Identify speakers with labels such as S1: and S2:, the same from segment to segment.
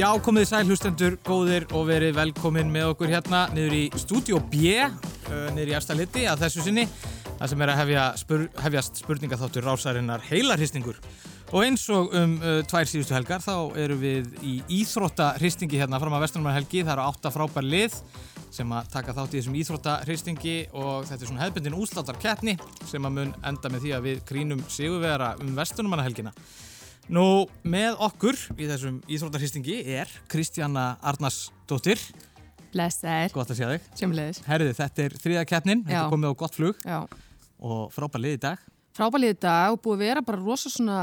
S1: Já, komið þið sæl hlustendur, góðir og verið velkomin með okkur hérna niður í Studio B, uh, niður í Efstaliti að þessu sinni, það sem er að hefja spur, hefjast spurningaþáttur rásarinnar heilarhistningur. Og eins og um uh, tvær síðustu helgar þá eru við í íþróttahristningi hérna fram að Vesturnumarhelgi, það eru átta frábær lið sem að taka þátt í þessum íþróttahristningi og þetta er svona hefbundin úslátarkeppni sem að mun enda með því að við krínum sigurvera um Vesturnumarhelgina. Nú, með okkur í þessum íþróttarhýstingi er Kristjana Arnarsdóttir.
S2: Blessaður,
S1: Gott að sé þig.
S2: sjömmulegis.
S1: Herðið, þetta er þriða keppnin, þetta
S2: Já.
S1: er komið á gott flug
S2: Já,
S1: og frábær lið í dag.
S2: frábælið dag og búið að vera bara rosa svona,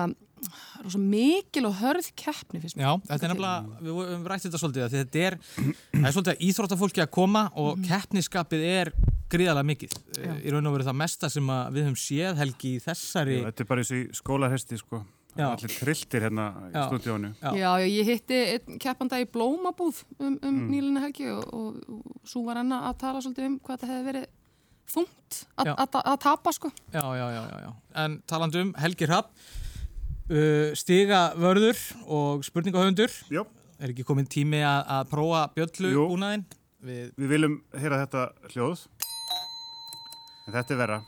S2: rosa mikil og hörð keppni fyrst mér.
S1: Já, þetta er nefnilega, við höfum rætt þetta svolítið að þetta er, það er svolítið að íþróttafólki að koma og keppnisskapið er gríðalega mikið. Já.
S2: Mhm. Já.
S1: Í raun og veru það mesta sem að við höfum séð helgi í þessari...
S3: Já, Þetta er bara eins og í skólarhesti sko. Það
S1: Já.
S3: er Allir trilltir hérna í
S1: Já.
S3: stúdíónu.
S1: Já.
S2: Já. já, ég hitti einn keppanda í blómabúð um, um mm. nýlina helgi og, og, og svo var hennar að tala svolítið um hvað þetta hefði verið þungt að-
S1: Já.
S2: að að tapa sko.
S1: Já, já, já, já, já. En talandu um Helgi Hrapp, uh, stiga vörður og spurningahöfundur.
S3: Jó,
S1: Er ekki komin tími að, að prófa bjöllu
S3: Jú.
S1: búnaðinn? Við,
S3: við viljum heyra þetta hljóð. En þetta er verra.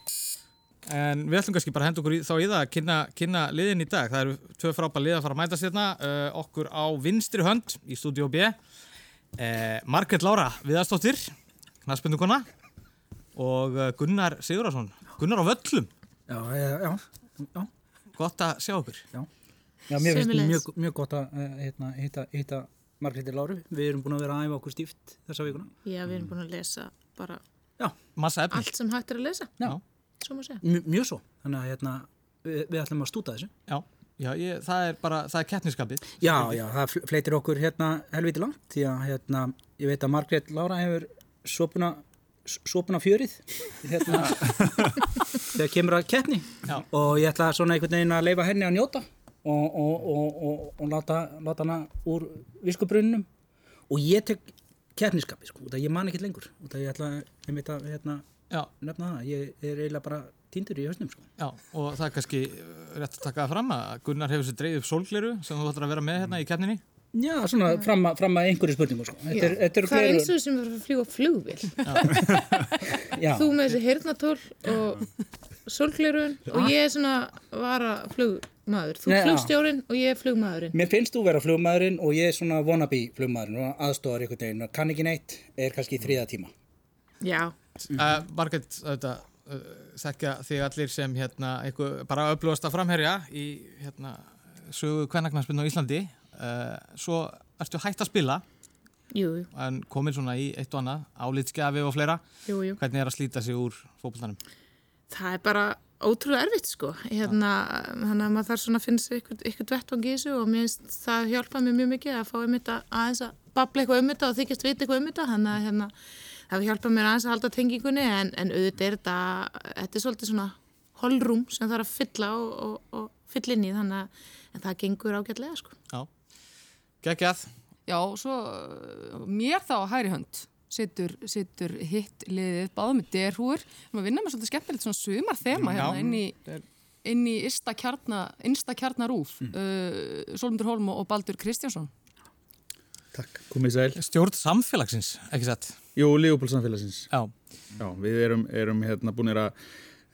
S1: en við ætlum kannski bara að henda okkur í, þá í það að kynna, kynna liðin í dag. Það eru tvö frábæð lið að fara að mæta sérna. Uh, okkur á vinstri hönd í Studio B. Uh, Margrét Lára Viðarstóttir, knaspundukona og eh, Gunnar Sigurðarsson. Gunnar á völlum,
S4: Já, já, já. já.
S1: gott að sjá okkur.
S4: já mér finnst
S5: Sömuleiðis.
S4: mjög, mjög gott að eh, hérna, hitta, hitta Margréti Láru. Við erum búin að vera að æfa okkur stíft þessa vikuna.
S5: Já,
S4: Mm.
S5: við erum búin að lesa bara
S1: Massa efni.
S5: allt sem hægt er að lesa,
S1: Já,
S5: svo maður segja.
S4: M mjög svo. Þannig að hérna, við, við ætlum að stúta þessu.
S1: já, já ég, það er bara, það er keppniskapið.
S4: Já, já, það fl- fleitir okkur hérna helviti langt því að hérna, ég veit að Margrét Lára hefur sopuna, sopuna fjörið hérna, þegar kemur að keppni
S1: Já.
S4: og ég ætla svona einhvern veginn að leifa henni að njóta og, og, og, og, og láta, láta hana úr viskubrunnum og ég tek keppniskapi sko, út að ég man ekkert lengur út að ég ætla ég veit að hérna,
S1: Já,
S4: nefna það, ég er eiginlega bara týndur í hausnum sko.
S1: Já, og það er kannski eh, rétt að taka það fram að Gunnar hefur sér dreigð upp sólgleru sem þú ætlar að vera með hérna í keppninni.
S4: Já, svona fram að, fram að einhverju spurningu sko. þetta er, þetta er
S5: það er eins og sem verður að fljúa flugvél.
S4: já,
S5: Þú með þessi hirnatól og solglerun og ég er svona vara flugmaður. Þú
S4: Nei,
S5: er
S4: já.
S5: flugstjórin og ég er flugmaðurinn.
S4: Mér finnst þú vera flugmaðurinn og ég er svona wannabe flugmaðurinn og aðstofar einhvern veginn og kann ekki neitt, er kannski í þriða tíma.
S5: Já,
S1: Uh, Margrét, þetta uh, þekkja þig allir sem hérna, einhver, bara öflugast að framherja í hérna, sögu kvennagnarsbyrnu á Íslandi. Uh, svo ertu hægt að spila
S5: jú, jú,
S1: en komin svona í eitt og annað, álitskefi og fleira.
S5: jú, jú.
S1: Hvernig er að slíta sig úr fókbaltanum?
S5: Það er bara ótrúlega erfitt sko. Hérna, þannig að maður þarf svona að finna sér ykkur, ykkur vettvang í þessu og mér finnst það hjálpaði mér mjög mikið að fá um þetta aðeins að babla eitthvað um þetta og þykjast vita eitthvað um þetta. Þannig að hérna, það hjálpaði mér aðeins að halda tengingunni en, en auðvitað er þetta, þetta er svolítið svona holrúm sem þarf að fylla og, og, og fylla inn í þannig að en það gengur ágætlega sko.
S1: Já, geggjað.
S2: Já, svo uh, mér þá að hæri hönd situr, situr hitt liðið báðum með derhúur. Við vinnum með svolítið skemmtilegt svona sumar þema
S1: Já.
S2: hérna inn í inn í ysta kjarnar, innsta kjarnar rúf uh, Solmundur Holm og Baldur Kristjánsson
S6: Takk, komið sæl.
S1: Stjórn samfélagsins, ekki satt?
S6: Jú, Leopold samfélagsins.
S1: Já,
S6: Já, við erum, erum hérna búinir að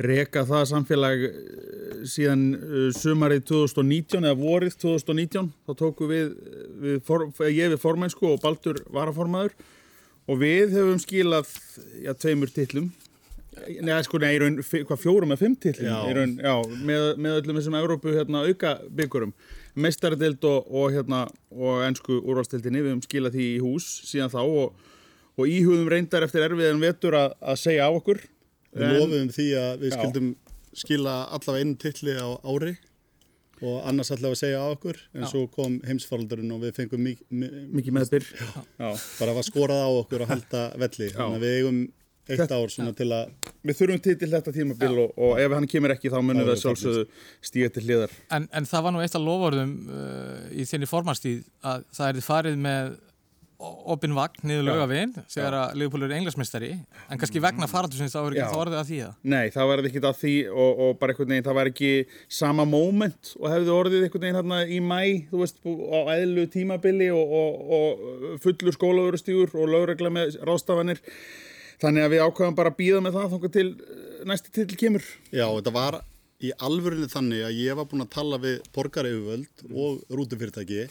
S6: reka það samfélag eh, síðan eh, sumarið 2019 eða vorið 2019. Þá tóku við, uh, við for, ég við formennsku og Baldur varaformaður og við hefum skilað já, tveimur titlum. Nei, sko, nei, í raun, fi- hvað, fjórum eða fimm titlum? Já. Raun, já, með, með öllum þessum Európu hérna, auka byggurum. Meistardeild og, og, hérna, og ennsku úrvalstildinni, við hefum skilað því í hús síðan þá og, og íhugðum reyndar eftir erfiðan vetur að, að segja á okkur.
S7: Við lofuðum því að við
S6: Já.
S7: skildum skila allavega einu tilli á ári og annars allavega að segja á okkur en svo kom heimsfaldurinn og við fengum mik mi
S6: Mikið meðbyr. Já.
S7: bara var skorað á okkur að halda velli þannig að við eigum eitt ár svona til að
S6: Við þurfum titil þetta tímabil og, og ef hann kemur ekki þá munum við
S7: Já, já,
S6: að sjálfsögðu stíga til hliðar.
S1: En, en það var nú eitt af lovorðum uh, í þinni formarstíð að það er farið með opinn vagn niður laugavinn þegar að Liverpool eru englansmestari en kannski vegna faraldusins þá er
S6: Já.
S1: ekki þá orðið að því það
S6: Nei, það var ekkert að því og, og bara einhvern veginn, það var ekki sama moment og hefði orðið einhvern veginn hérna í mæ, þú veist, bú- á eðlu tímabili og, og, og fullur skólaverustígur og lögregla með ráðstafanir. Þannig að við ákvæðum bara að býða með það þóngar til eh, næsti til kemur.
S7: Já, þetta var í alvörinu þannig að ég var búin að tala við borgareiföld
S6: Mm.
S7: og rútufyrirtæki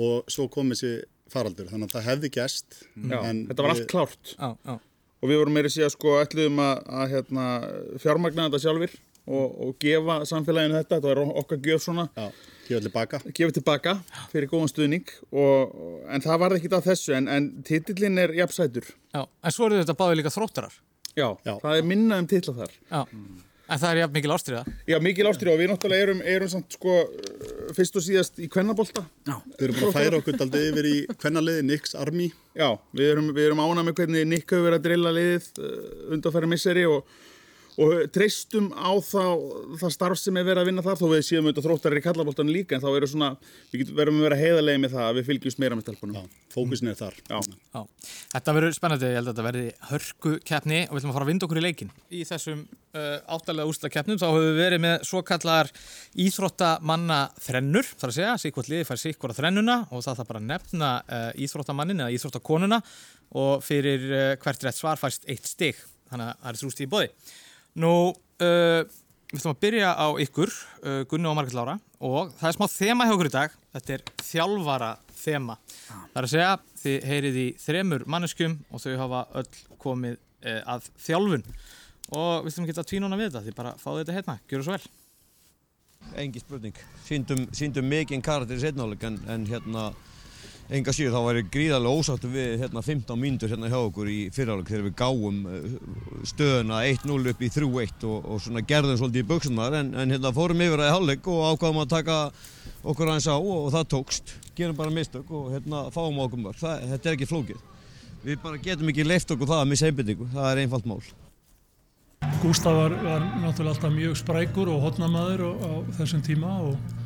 S7: og svo kom þessi faraldur, þannig að það hefði gæst.
S6: Mm. Já, þetta var allt klárt.
S1: Já, já,
S6: Og við vorum meira síðan sko ætluðum að, að hérna, fjármagna þetta sjálfur og, og gefa samfélaginu þetta, þetta var okkar gjöf svona.
S7: Já, ég ætli baka.
S6: gefið tilbaka fyrir góðan stuðning og, en það varði ekkit að þessu en, en titillin er jafnsætur
S1: já. en svo eru þetta báði líka þróttarar
S6: já,
S7: Já.
S6: það er minna um titla þar
S1: já. en það er jafn mikil ástriða
S6: já, mikil ástrið og við náttúrulega erum, erum samt sko uh, fyrst og síðast í kvennabolta
S7: Við erum búin að færa okkur aldrei yfir í hvernaliði Nix Army.
S6: já, við erum, við erum ánað með hvernig Nick hefur verið að drilla liðið undanfæri misseri og, og treystum á þá, það starf sem er verið að vinna þar þó við séum auðvitað þróttarar í kallaboltan líka en þá eru svona, við getum, verðum að vera heiðarlega með það að við fylgjumst meira með
S7: Já,
S6: stelpunum
S7: fókusin er þar.
S6: Já.
S1: já. þetta verður spennandi, ég held að þetta verði hörku keppni og við ætlum að fara að vinda okkur í leikin í þessum uh, áttalega úsla keppnum þá höfum við verið með svo kallar íþróttamanna þrennur þar að segja, sikkvort liði fær sikkvora þrennuna og það þarf bara að nefna uh, íþróttamannin eða íþróttakonuna og fyrir uh, hvert rétt svar færst eitt stig þannig að það er þrústi í bóði Nú, uh, við ætlum að byrja á ykkur, uh, Gunni og Margrét Lára og það er smá þema hjá okkur í dag, þetta er þjálfara þema. Það er að segja, þið heyrið í þremur manneskum og þau hafa öll komið uh, að þjálfun og við ætlum að geta tvínuna við þetta, þið bara fáðu þetta hérna, gjöru svo vel.
S8: Engi spurning. Sýndum, sýndum mikinn karakter í setnáleik en, en hérna enga síður þá væri gríðarlega ósáttu við hérna 15 mínútur hérna hjá okkur í fyriráleik þegar við gáum eh, stöðuna 1-0 upp í 3-1 og, og svona gerðum svolítið í buksunar en, en hérna fórum yfir að í hálfleik og ákvaðum að taka okkur aðeins á og, og það tókst. Gerum bara mistök og hérna fáum okkur mörg. Það, þetta er ekki flókið. Við bara getum ekki leift okkur það að missa einbindingu. Það er einfalt mál.
S9: Gústaf var, var náttúrulega alltaf mjög sprækur og hotnamaður og, á þessum tíma og,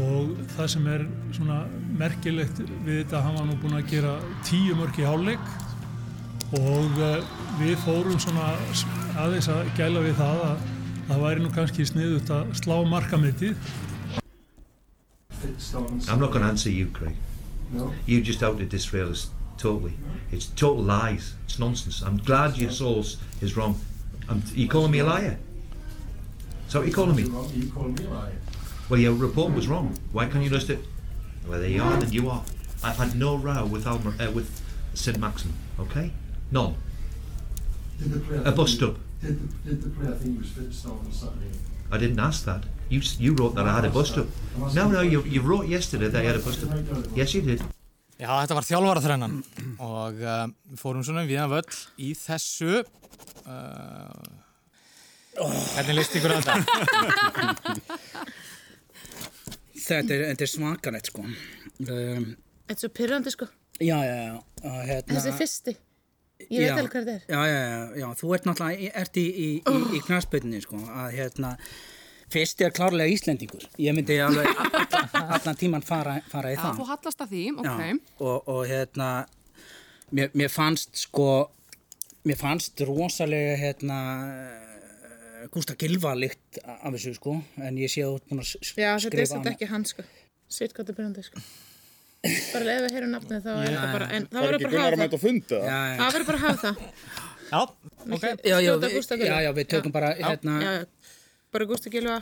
S9: og það sem er svona merkilegt við þetta að hann var nú búinn að gera tíu mörk í hálfleik og uh, við fórum svona s- aðeins að gæla við það að að það væri nú kannski sniðut að slá markamitið
S10: I'm not going to answer you, Craig. No. You just outed Israel as totally. It's total lies. It's nonsense. I'm glad your source is wrong. I'm, are you calling me a liar? Is that what you're calling me? You calling me a liar? Well, your report was wrong. Why can't you list it? Well, there you are. Then you are. I've had no row with Almer, uh, with St. Maxim. Okay, none. A bust up. I didn't ask that. You s- you wrote that I had a bust up. No, no, you you wrote yesterday that I had a bust up. Yes, you did.
S1: Já, þetta var þjálfara þrennan og uh, við fórum svona við að völl í þessu. Uh, Oh. Hvernig leist ykkur að þetta?
S4: Þetta er, þetta er svakalegt sko um,
S5: Þetta er svo pyrrandi sko,
S4: Já, já, já og hérna,
S5: þessi fyrsti. Ég veit
S4: Já.
S5: alveg hvað þetta er.
S4: já, já, já, já, þú ert náttúrulega ert í, í, í, í knarspötinni sko að hérna Fyrst er klárlega Íslendingur. Ég myndi alveg allan tíman fara, fara í það.
S2: Þú hallast að því, ok.
S4: Ah. Já, og, og hérna mér, mér fannst sko mér fannst rosalega hérna eh, Gústa Gilva líkt af þessu sko en ég sé að þú ert búin að s-
S5: Já, þetta er
S4: skrifa
S5: svolítið
S4: hana.
S5: ekki hann sko. Sitt hvað þetta er pyrrandi sko. Bara ef við heyrum nafnið þá er þetta bara, en það verður
S6: ekki gunnar að
S5: bara að hafa það.
S6: mæta að funda
S4: Já, já.
S5: Það verður bara að hafa það.
S1: Já, ok.
S4: já, já,
S5: Skjóta Gústa
S4: við,
S5: Gylfa.
S4: já, já, við tökum bara hérna,
S5: Já, já, bara Gústa Gilva.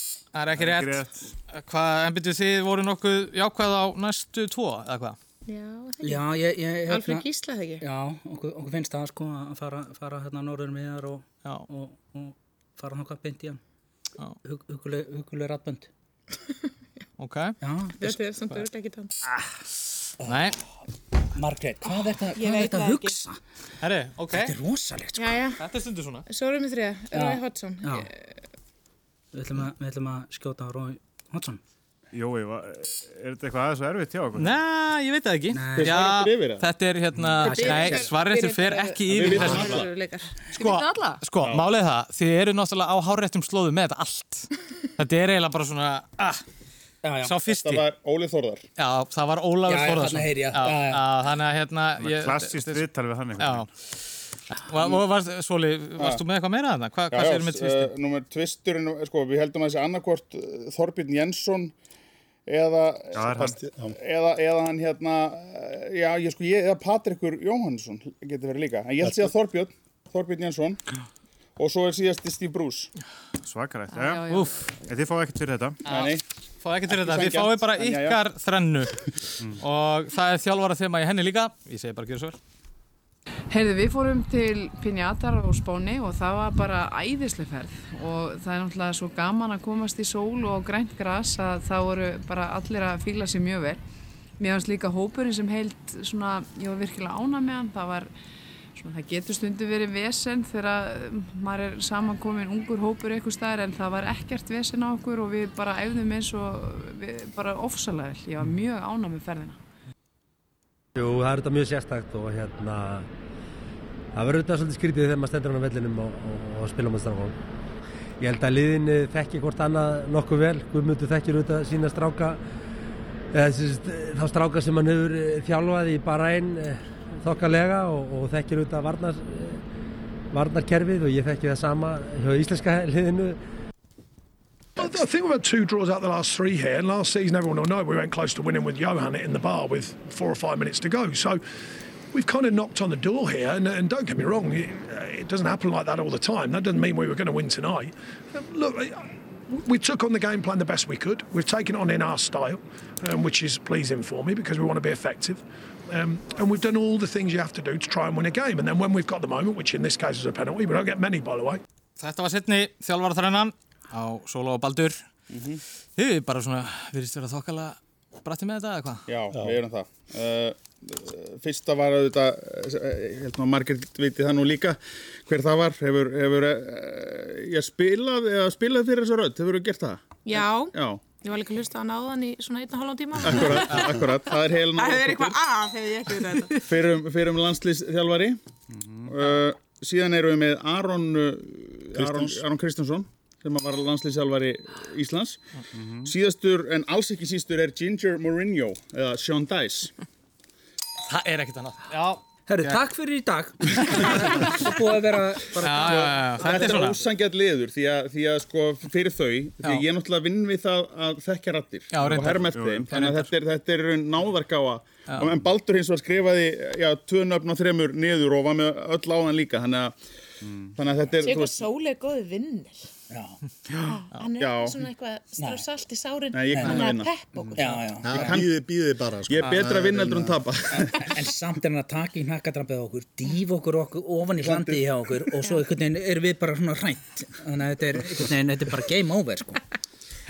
S1: Það er ekki rétt.
S3: Grét.
S1: Hvað, en byrju þið voru nokkuð jákvæð á næstu tvo, eða hvað?
S5: Já, það
S4: já, ég, ég
S5: er Alfred
S4: hérna,
S5: Gísla þegar ekki.
S4: já, okkur, okkur finnst það sko að fara, fara hérna norður miðar og,
S1: Já,
S4: og, og fara hann hvað beint í hann
S1: Já.
S4: Hug- huguleg huguleg rattbönd
S1: ok.
S4: já,
S5: Þetta er samt örglega ekki tann.
S1: Nei,
S4: Margrét,
S5: Ah,
S4: hvað er þetta hvað er þetta að hugsa?
S1: herri, ok.
S4: Þetta er rosalegt sko
S5: Já, já,
S1: Þetta er stundu svona.
S5: svo erum við þrjá. Rói Hodson.
S4: Já. Við ætlum að, við ætlum að skjóta á Rói Hotsson.
S3: Jói, va- er þetta eitthvað aðeins og erfitt hjá okkur?
S1: Nei, ég veit það ekki. Já,
S6: Þeir fara ekki yfir það?
S1: þetta er hérna, nei, svarréttur fer ekki yfir
S5: Það
S1: þessu.
S5: eru leikar.
S2: Þið vitið alla?
S1: Sko, málið er það, þið eru náttúrulega á háréttum slóðu með þetta allt. Þetta er eiginlega bara svona, ah,
S4: Já, já.
S1: sá fyrsti
S6: Það var Óli Þórðar.
S1: já, það var
S4: Já,
S1: Ólafur
S4: já,
S1: Þórðarsson
S4: þarna heyri ég.
S1: Já,
S4: Já, já.
S1: já, þannig að hérna ég-
S3: Klassist viðtal við hann
S1: já
S3: einhvern
S1: og, og varst, Svoli, varst þú með eitthvað meira þarna? Hva, hvað séu með tvisti?
S6: Uh, númer tvisturinn, sko, við heldum að þessi annarkvort uh, Þorbjörn Jensson eða,
S3: Já, það er hann.
S6: eða, eða hann hérna, uh, já, ég sko, ég, eða Patrikur Jóhannsson getur verið líka. En ég held sé að Þorbjörn, Þorbjörn Jensson og svo er síðasti Steve Bruce.
S3: Svakarætt, já, já.
S11: já.
S1: Úf,
S3: En Þið fáið ekkert fyrir þetta.
S6: Nei, nei.
S1: fá ekki til þetta, við
S6: sanngjarnt,
S1: fáum bara
S6: en jæja.
S1: ykkar þrennu og það er þjálfara þema í henni líka ég segi bara að gera svo vel
S11: Heyrðu, við fórum til Pinjatar á Spáni og það var bara æðisleg ferð og það er náttúrulega svo gaman að komast í sól og á grænt gras að það voru bara allir að fíla sér mjög vel. Mér fannst líka hópurinn sem heilt svona, ég var virkilega ána með hann, það var svona, það getur stundu verið vesen þegar um, maður er samankomin ungur hópur eitthvað staðar en það var ekkert vesen á okkur og við bara æfðum eins og við bara ofsalega vel, ég var mjög ána með ferðina.
S12: Jú, það er þetta mjög sérstakt og hérna það verður þetta svolítið skrítið þegar maður stendur hann á vellinum og, og, og spila með strákunum. Ég held að liðinni þekki hvort annað nokkuð vel, Guðmundur þekkir auðvitað sína stráka eh, eða sérst, þá stráka sem hann hefur eh, þjálfað í bara einn þokkalega og, og þekkir auðvitað varnar, eh, varnarkerfið og ég þekki það sama hjá íslenska liðinu
S13: I I think we've had two draws out the last three here, and last season everyone will know we went close to winning with Johan in the bar with four or five minutes to go. So we've kind of knocked on the door here, and, and don't get me wrong, it, uh, it doesn't happen like that all the time. That doesn't mean we were going to win tonight. Um, Look, we took on the game plan the best we could. We've taken it on in our style, um, which is pleasing for me because we want to be effective. Um, and we've done all the things you have to do to try and win a game. And then when we've got the moment, which in this case is a penalty, we don't get many, by the way.
S1: Þetta var setni þjálfara þrennan á Sóla og Baldur mm Þið er bara svona, virðist vera þokkala bratti með þetta eða hvað?
S6: Já, við erum það. Uh, fyrsta var auðvitað, eh, ég held nú að Margrét viti það nú líka, hver það var, hefur, hefur uh, ég spilað, eða spilað fyrir þessu rödd, hefur þú gert það?
S5: Já,
S6: Já,
S5: ég var líka að hlusta á náðan í svona einn og hálfum tíma.
S6: akkurat, akkurat, það er heilin
S5: Það er eitthvað að þegar ég ekki verið Mhm. þetta.
S6: Fyrum, fyrum landslýsþjálfari, uh, síðan erum við með Aron, uh, Aron,
S7: Kristjáns.
S6: Aron Kristjánsson, sem að var landslýsþjálfari Íslands.
S5: Mhm.
S6: Síðastur, en alls ekki sístur, er Ginger Mourinho, eða Sean Dice.
S1: Það er ekkert annað. Já,
S4: Herru, takk fyrir í dag. Það er búið að vera bara...
S1: já, já, já, þetta er
S6: Þetta er
S1: svona.
S6: ósangjart liður því að, því að sko fyrir þau því að ég er náttúrulega vinn við það að þekkja rattir
S1: Já,
S6: og
S1: reyndar.
S6: herma eftir þeim þannig að
S1: reyndar.
S6: þetta er, þetta er náðarkáa og, en Baldur hins var skrifaði já, tvö nöfn og þremur niður og var með öll áðan líka þannig að, þannig að þetta er
S5: Sér
S6: þú
S5: hvað sól er góði vinnir.
S4: Já,
S5: Hann er
S6: Já.
S5: svona eitthvað strá salt í sárin.
S6: Nei, ég kann að
S5: Hann er
S6: vinna.
S5: pepp okkur.
S4: já, já.
S7: Býði, býði bara sko.
S6: ég er betra að vinna heldur en tapa
S4: En samt er hann að taka í hnakkadrampið á okkur, dýfa okkur okkur ofan í hlandið hjá okkur og svo einhvern veginn erum við bara svona hrænt. Þannig að þetta er, einhvern veginn, þetta er bara game over, sko.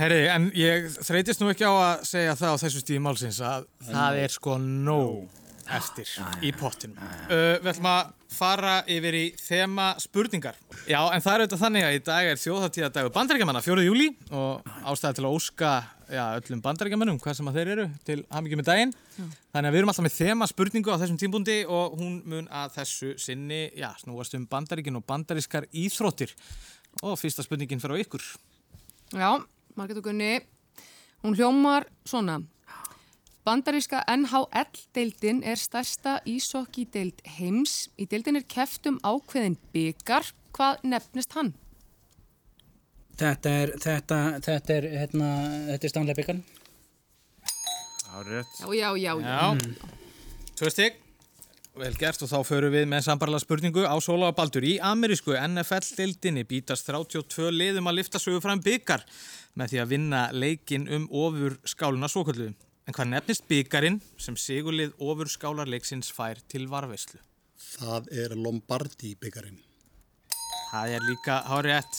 S1: Herri, en ég þreytist nú ekki á að segja það á þessu stíði málsins að það er sko nóg eftir í pottinum. Uh, við ætlum að fara yfir í þema spurningar. Já, en það er auðvitað þannig að í dag er þjóðháttíðadagur bandaríkjamanna, 4. júli og ástæða til að óska já, öllum bandaríkjamannum hvað sem að þeir eru til hamingjum með daginn. Þannig að við erum alltaf með þema spurningu á þessum tímbundi og hún mun að þessu sinni já, snúast um bandaríkin og bandarískar íþróttir. Og fyrsta spurningin fyrir á ykkur.
S11: Já, Margrét og Gunni, hún hljómar svona. Bandaríska NHL-deildin er stærsta ísokki-deild heims. Í deildin er keft um ákveðin byggar. Hvað nefnist hann?
S4: Þetta er, þetta, þetta er, hérna, þetta er Stanley Bacon.
S3: Já, rétt.
S11: Já, já, já. já.
S1: Já, tvö stygg Vel gert og þá förum við með sambarlega spurningu á Sóla og Baldur. Í amerísku NFL-deildinni býtast 32 liðum að lifta sögu fram byggar með því að vinna leikin um ofur skáluna svokvöldu. En hvað nefnist byggarinn sem sigurlið ofur skálarleiksins fær til varveislu?
S7: Það er Lombardi byggarinn.
S1: Það er líka hárétt.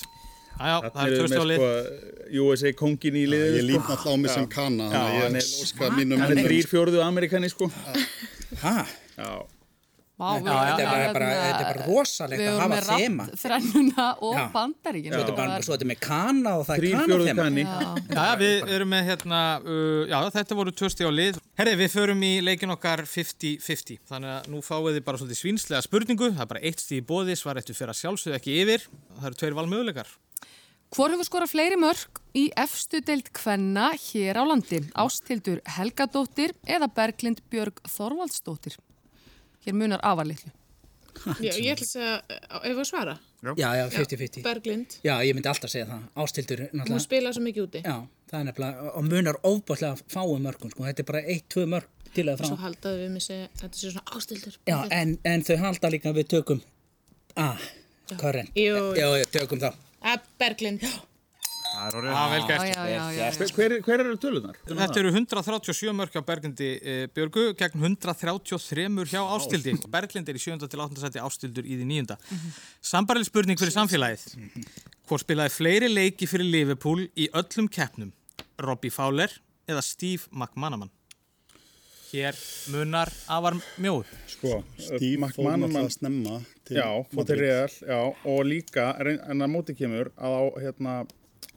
S1: Jájá, það
S6: Þarna
S1: er
S6: eru
S1: tvö
S6: með
S1: stjólið.
S6: sko USA kongin í liðið
S7: Ég
S6: sko.
S7: líf náttúrulega á mig sem kanna, þannig að
S6: hann
S7: ég
S6: er-
S7: óska mínum
S6: hann er
S7: vinnum,
S6: þrýr fjórðu amerikani sko
S4: Hæ?
S6: já
S11: Vá, við-
S4: Þetta er bara, bara,
S11: hérna,
S4: þetta er bara rosalegt
S11: Við
S4: að
S11: vorum
S4: hafa
S11: með
S4: þema.
S11: rátt þrennuna og
S4: Já.
S11: bandaríkina.
S4: Svo þetta er bara, svo þetta er með kana og það er
S6: þrýr
S4: kana
S6: fjórðu
S4: þema.
S6: kanni
S1: Já, við erum með hérna, uh, já þetta voru tvö stíð á lið. Herri, við förum í leikin okkar 50-50, þannig að nú fáið þið bara svolítið svínslega spurningu, það er bara eitt stíð í bóði, svar eftir fyrir að sjálfsögðu ekki yfir, það eru tveir valmöguleikar.
S11: Hvor hefur skorað fleiri mörg í efstu deild kvenna hér á landi? Ástildur Helgadóttir eða Berglind Björg Þorvaldsdóttir? Hér munar afarlitlu.
S5: Já, ég ætla að segja, ef við að svara.
S4: Já, já, 50-50.
S5: Berglind,
S4: Já, ég myndi alltaf segja það. Ástildur,
S5: hún
S4: náttúrulega.
S5: spila svo mikið úti.
S4: Já, það er nefnilega, og munar ofbáslega fáum mörgum, sko. Þetta er bara eitt, tvö mörg til að frá.
S5: Svo haldaði við mig segja, þetta sé svona ástildur.
S4: Já, en, en þau halda líka að við tökum Ah, Karen
S5: Jú.
S4: Já, já, tökum þá
S5: Að Berglind.
S3: Það er
S1: Já, vel gert.
S5: Já, já, já, já.
S6: Hver, hver eru tölunar?
S1: Þetta eru 137 mörg hjá Berglindi eh, Björgu gegn 133 hjá Ástildi. Berglind er í 7. til 8. seti, Ástildur í því 9. Sambarleg spurning fyrir samfélagið. Hvor spilaði fleiri leiki fyrir Liverpool í öllum keppnum? Robbie Fowler eða Steve McManaman? Hér munar afar mjóð.
S6: Sko,
S7: Steve fór náttúrulega snemma til
S6: já, fór til
S7: Madrid.
S6: Real, já, og líka reyn- en að móti kemur að á hérna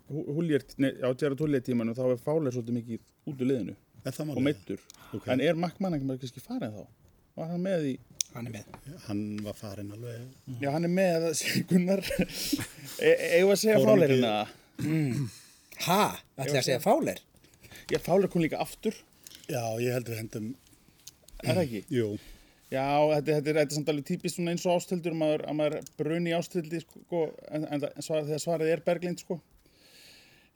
S6: Hullier, nei, á Gerard Hullier tímanu þá er Fáler svolítið mikið út úr liðinu
S7: það
S6: og
S7: málið?
S6: meittur,
S7: Ok.
S6: en er Makkmann ekki kannski farið þá? Var hann með í
S4: Hann er með
S7: Hann var farinn alveg.
S6: Já, hann er með að segja Gunnar E- Eigum við að segja
S7: Fór hann
S6: Fálerina?
S4: mm. Ha, ætlaði að segja Fáler?
S6: Já, Fáler kom líka aftur
S7: Já, ég held við hendum
S6: Er það ekki?
S7: Jú.
S6: Já, þetta, þetta, er, þetta er samt alveg típist svona eins og ástildur að maður, að maður bruni ástildi sko, en, en það- svar, þegar svarið er Berglind sko.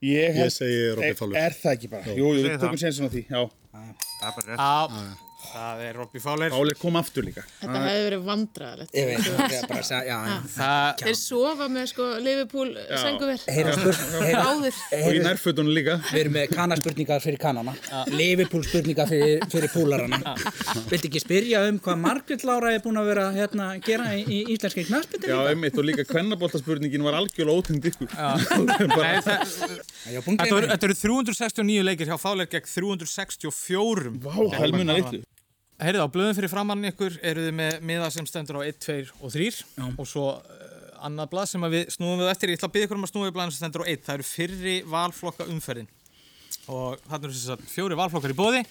S6: Ég,
S7: Ég segi Robbie Fowler.
S6: Er, er það ekki bara?
S7: Jú.
S6: Jú, jú,
S7: Segðu
S6: við tökum
S7: það.
S6: sénsinn á því, já.
S3: Það er bara
S6: Ah.
S1: Á, það er Robbie Fowler.
S6: Fáler kom aftur líka.
S5: Þetta hefði verið vandræðilegt.
S4: Ég veit, það er bara að segja, já, já
S1: Það,
S5: Þeir sofa með sko Liverpool senguver.
S4: Heyra spurning
S5: Áður.
S6: Og í nærfötunum líka.
S4: Við erum með kanaspurningar fyrir kanana Liverpool spurningar fyrir, fyrir púlarana Viltu ekki spyrja um hvað Margrét Lára er búin að vera hérna að gera í, í íslenski knaspindin?
S6: Já, einmitt og líka kvennaboltaspurningin var algjörlega ótegnd ykkur.
S1: nei,
S6: Bara-
S1: það,
S4: Já, búin að
S1: þetta eru-
S4: gera
S1: þetta eru 369 leikir hjá Fowler gegn 364.
S6: Vá, það munar litlu.
S1: Heyrðu á blöðum fyrir framann ykkur eru þið með miða sem stendur á 1, 2 og 3 og svo uh, annað blað sem að við snúum við á eftir ég ætla að byggja ykkur um að snúa við blaðin sem stendur á 1 það eru fyrri valflokka umferðin og þarna eru þess að fjóri valflokkar í bóði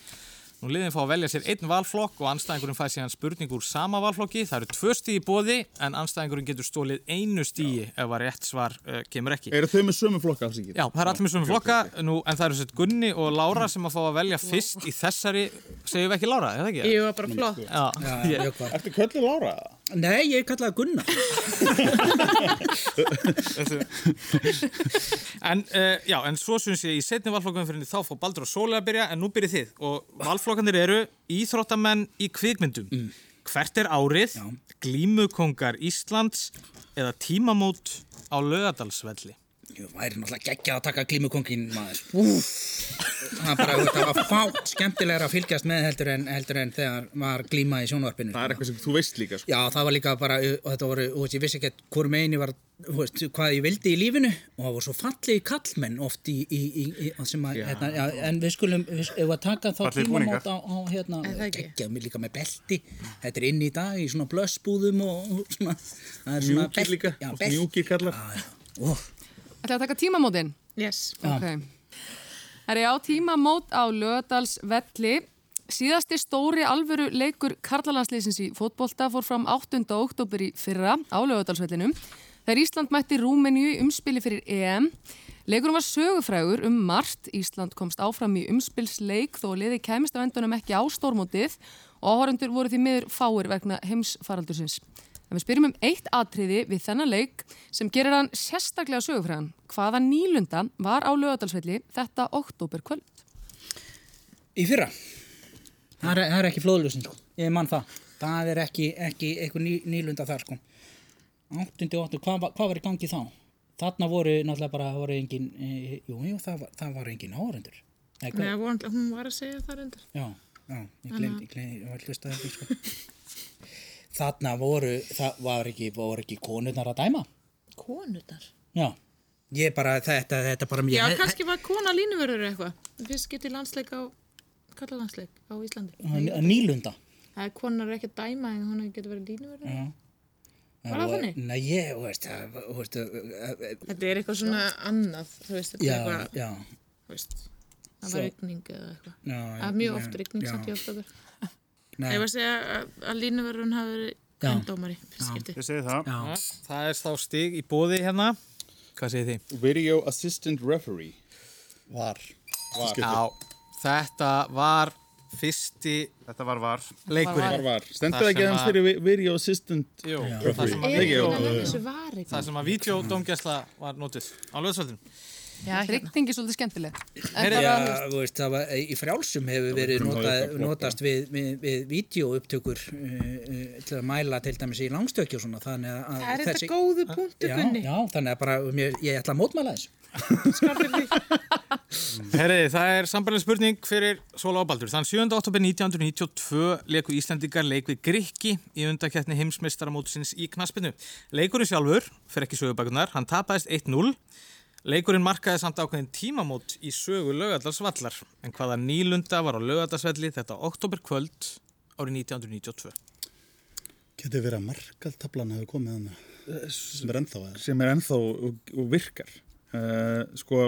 S1: nú liðin fá að velja sér einn valflokk og anstæðingurinn fæ síðan spurning úr sama valflokki það eru tvö stíð í bóði en anstæðingurinn getur stólið einu stíði ef að rétt svar uh, kemur ekki
S6: Eru þau með sömu flokka afsíkir?
S1: Já, það er allir með svona flokka, nú, en það eru sett Gunni og Lára sem að fá að velja fyrst í þessari, segjum við ekki Lára, er það ekki?
S5: Ég var bara flott.
S1: Já,
S4: Já, mjög gott.
S6: Ertu köllið Lára?
S4: Nei, ég kallaði Gunnar
S1: En, uh, já, en svo syns ég í setni valflokkanferinni þá fá Baldur og Sóli að byrja en nú byrjið þið og valflokkanir eru Íþróttamenn í kvikmyndum Hvert er árið, glímukongar Íslands eða tímamót á lögadalsvelli
S4: Jú, væri náttúrulega geggjað að taka glímukongin maður. Úf, það er bara, þú veist, það var fátt skemmtilegra að fylgjast með heldur en, heldur en þegar var glíma í sjónvarpinu.
S6: Það er eitthvað sem þú veist líka, sko.
S4: Já, það var líka bara, og þetta voru, þú veist, ég vissi ekkert hvort megin ég var, þú veist, hvað ég vildi í lífinu og það voru svo fallegi kallmenn oft í, í, í, í sem að, hérna, já, en við skulum, við sk- ef við að taka þá
S3: Fallegir búningar.
S4: tímamót á, á, hérna,
S5: Er það ekki?
S4: geggjað mig líka með belti, þetta er inn í dag í svona blössbúðum og og svona, það er svona
S6: Mjúkir líka.
S4: já, belti,
S6: Mjúkir kallar.
S4: óh.
S11: Ætlaði að taka tímamótin?
S5: Yes.
S11: Ok. Það er á tímamót á Lögadalsvelli. Síðasti stóri alvöru leikur Karlalandsleysins í fótbolta fór fram 8. oktober í fyrra á Lögadalsvellinum. Þegar Ísland mætti Rúmeníu í umspili fyrir EM. Leikurinn var sögufrægur um margt. Ísland komst áfram í umspilsleik þó liði kemist á endunum ekki á stórmótið og áhörundur voru því miður fáir vegna heimsfaraldursins. En við spyrjum um eitt atriði við þennan leik sem gerir hann sérstaklega sögufræðan. Hvaða nýlunda var á lögadalsvelli þetta oktober kvöld?
S4: Í fyrra? Það er, það er ekki flóðljósin, sko. Ég mann það. Það er ekki, ekki eitthvað ný, nýlunda þar, sko. 8. og 8. Hvað, var- hvað var í gangi þá? Þarna voru náttúrulega bara, voru engin, e, jú, jú, það var, það var engin áhörundur. Nei,
S5: Nei,
S4: hvað?
S5: von, hún var að segja það reyndar.
S4: Já, já, ég glemdi, ég glemdi, ég var hlustað ekki, sko. Þarna voru, það var ekki, voru ekki konurnar að dæma?
S5: Konurnar.
S4: Já. Ég bara, þetta, þetta bara
S5: Já,
S4: mér.
S5: kannski var kona línuverður eitthvað. Fyrst getið landsleik á, kalla landsleik á Íslandi.
S4: Nýlunda.
S5: Það er konar er ekki að dæma en hún getur verið línuverður.
S4: Já.
S5: Var það
S4: Og-
S5: þannig?
S4: Nei, ég, þú veist, það, þú veist, eh, eh,
S5: Þetta er eitthvað svona annað, þú veist, þetta er
S4: já,
S5: eitthvað,
S4: já.
S5: þú veist, það
S4: Svo-
S5: var rigning eða eitthvað.
S4: Já,
S5: Það er mjög oft rigning samt í
S4: já,
S5: oktober.
S4: nei,
S5: Ég var að segja að, að línuverðun hafi verið
S4: Já.
S5: kvendómari, fyrst
S4: Já.
S5: getið.
S3: Ég segi það.
S4: já,
S1: Það er þá stig í bóði hérna hvað segir þið?
S6: Video Assistant Referee
S7: Var,
S6: Var.
S1: Já, þetta var fyrsti
S3: Þetta var var
S1: Leikurinn
S6: Var var. Stendur ekki aðeins fyrir vi- Video Assistant
S1: Jú, það
S6: Referee
S1: sem að-
S6: Ekki, jú.
S1: Það sem að videodómgæsla var nótið á löðsvöldinu
S11: Já,
S5: hérna.
S11: Rikningi svolítið skemmtileg. En
S4: Já,
S11: bara,
S4: þú veist, það var, í frjálsum hefur verið
S6: Við
S4: nota,
S6: höfum það
S4: notast við, við, við vídeoupptökur uh, uh, til að mæla til dæmis í langstökju og svona, þannig að- að
S5: Það er þetta góðu punktu,
S4: Já,
S5: Gunni.
S4: já, þannig að bara, mér, ég ætla að mótmæla þessu.
S1: Herriði, það er sambarleg spurning fyrir Sóla og Baldur. Þann 7. oktober 1992 leku Íslandingar leik við Grikki í undakettni heimsmeistaramótsins í knaspinu. Leikurinn sjálfur, fyrir ekki sögubakunar, hann tapaðist 1-0. Leikurinn markaði samt ákveðin tímamót í sögu lögadalsvallar. En hvaða nýlunda var á lögadalsvelli þetta oktober kvöld árið 1992?
S7: Getið verið að markaltablan hefur komið hann sem er ennþá eða?
S6: sem er ennþá og, og virkar uh, sko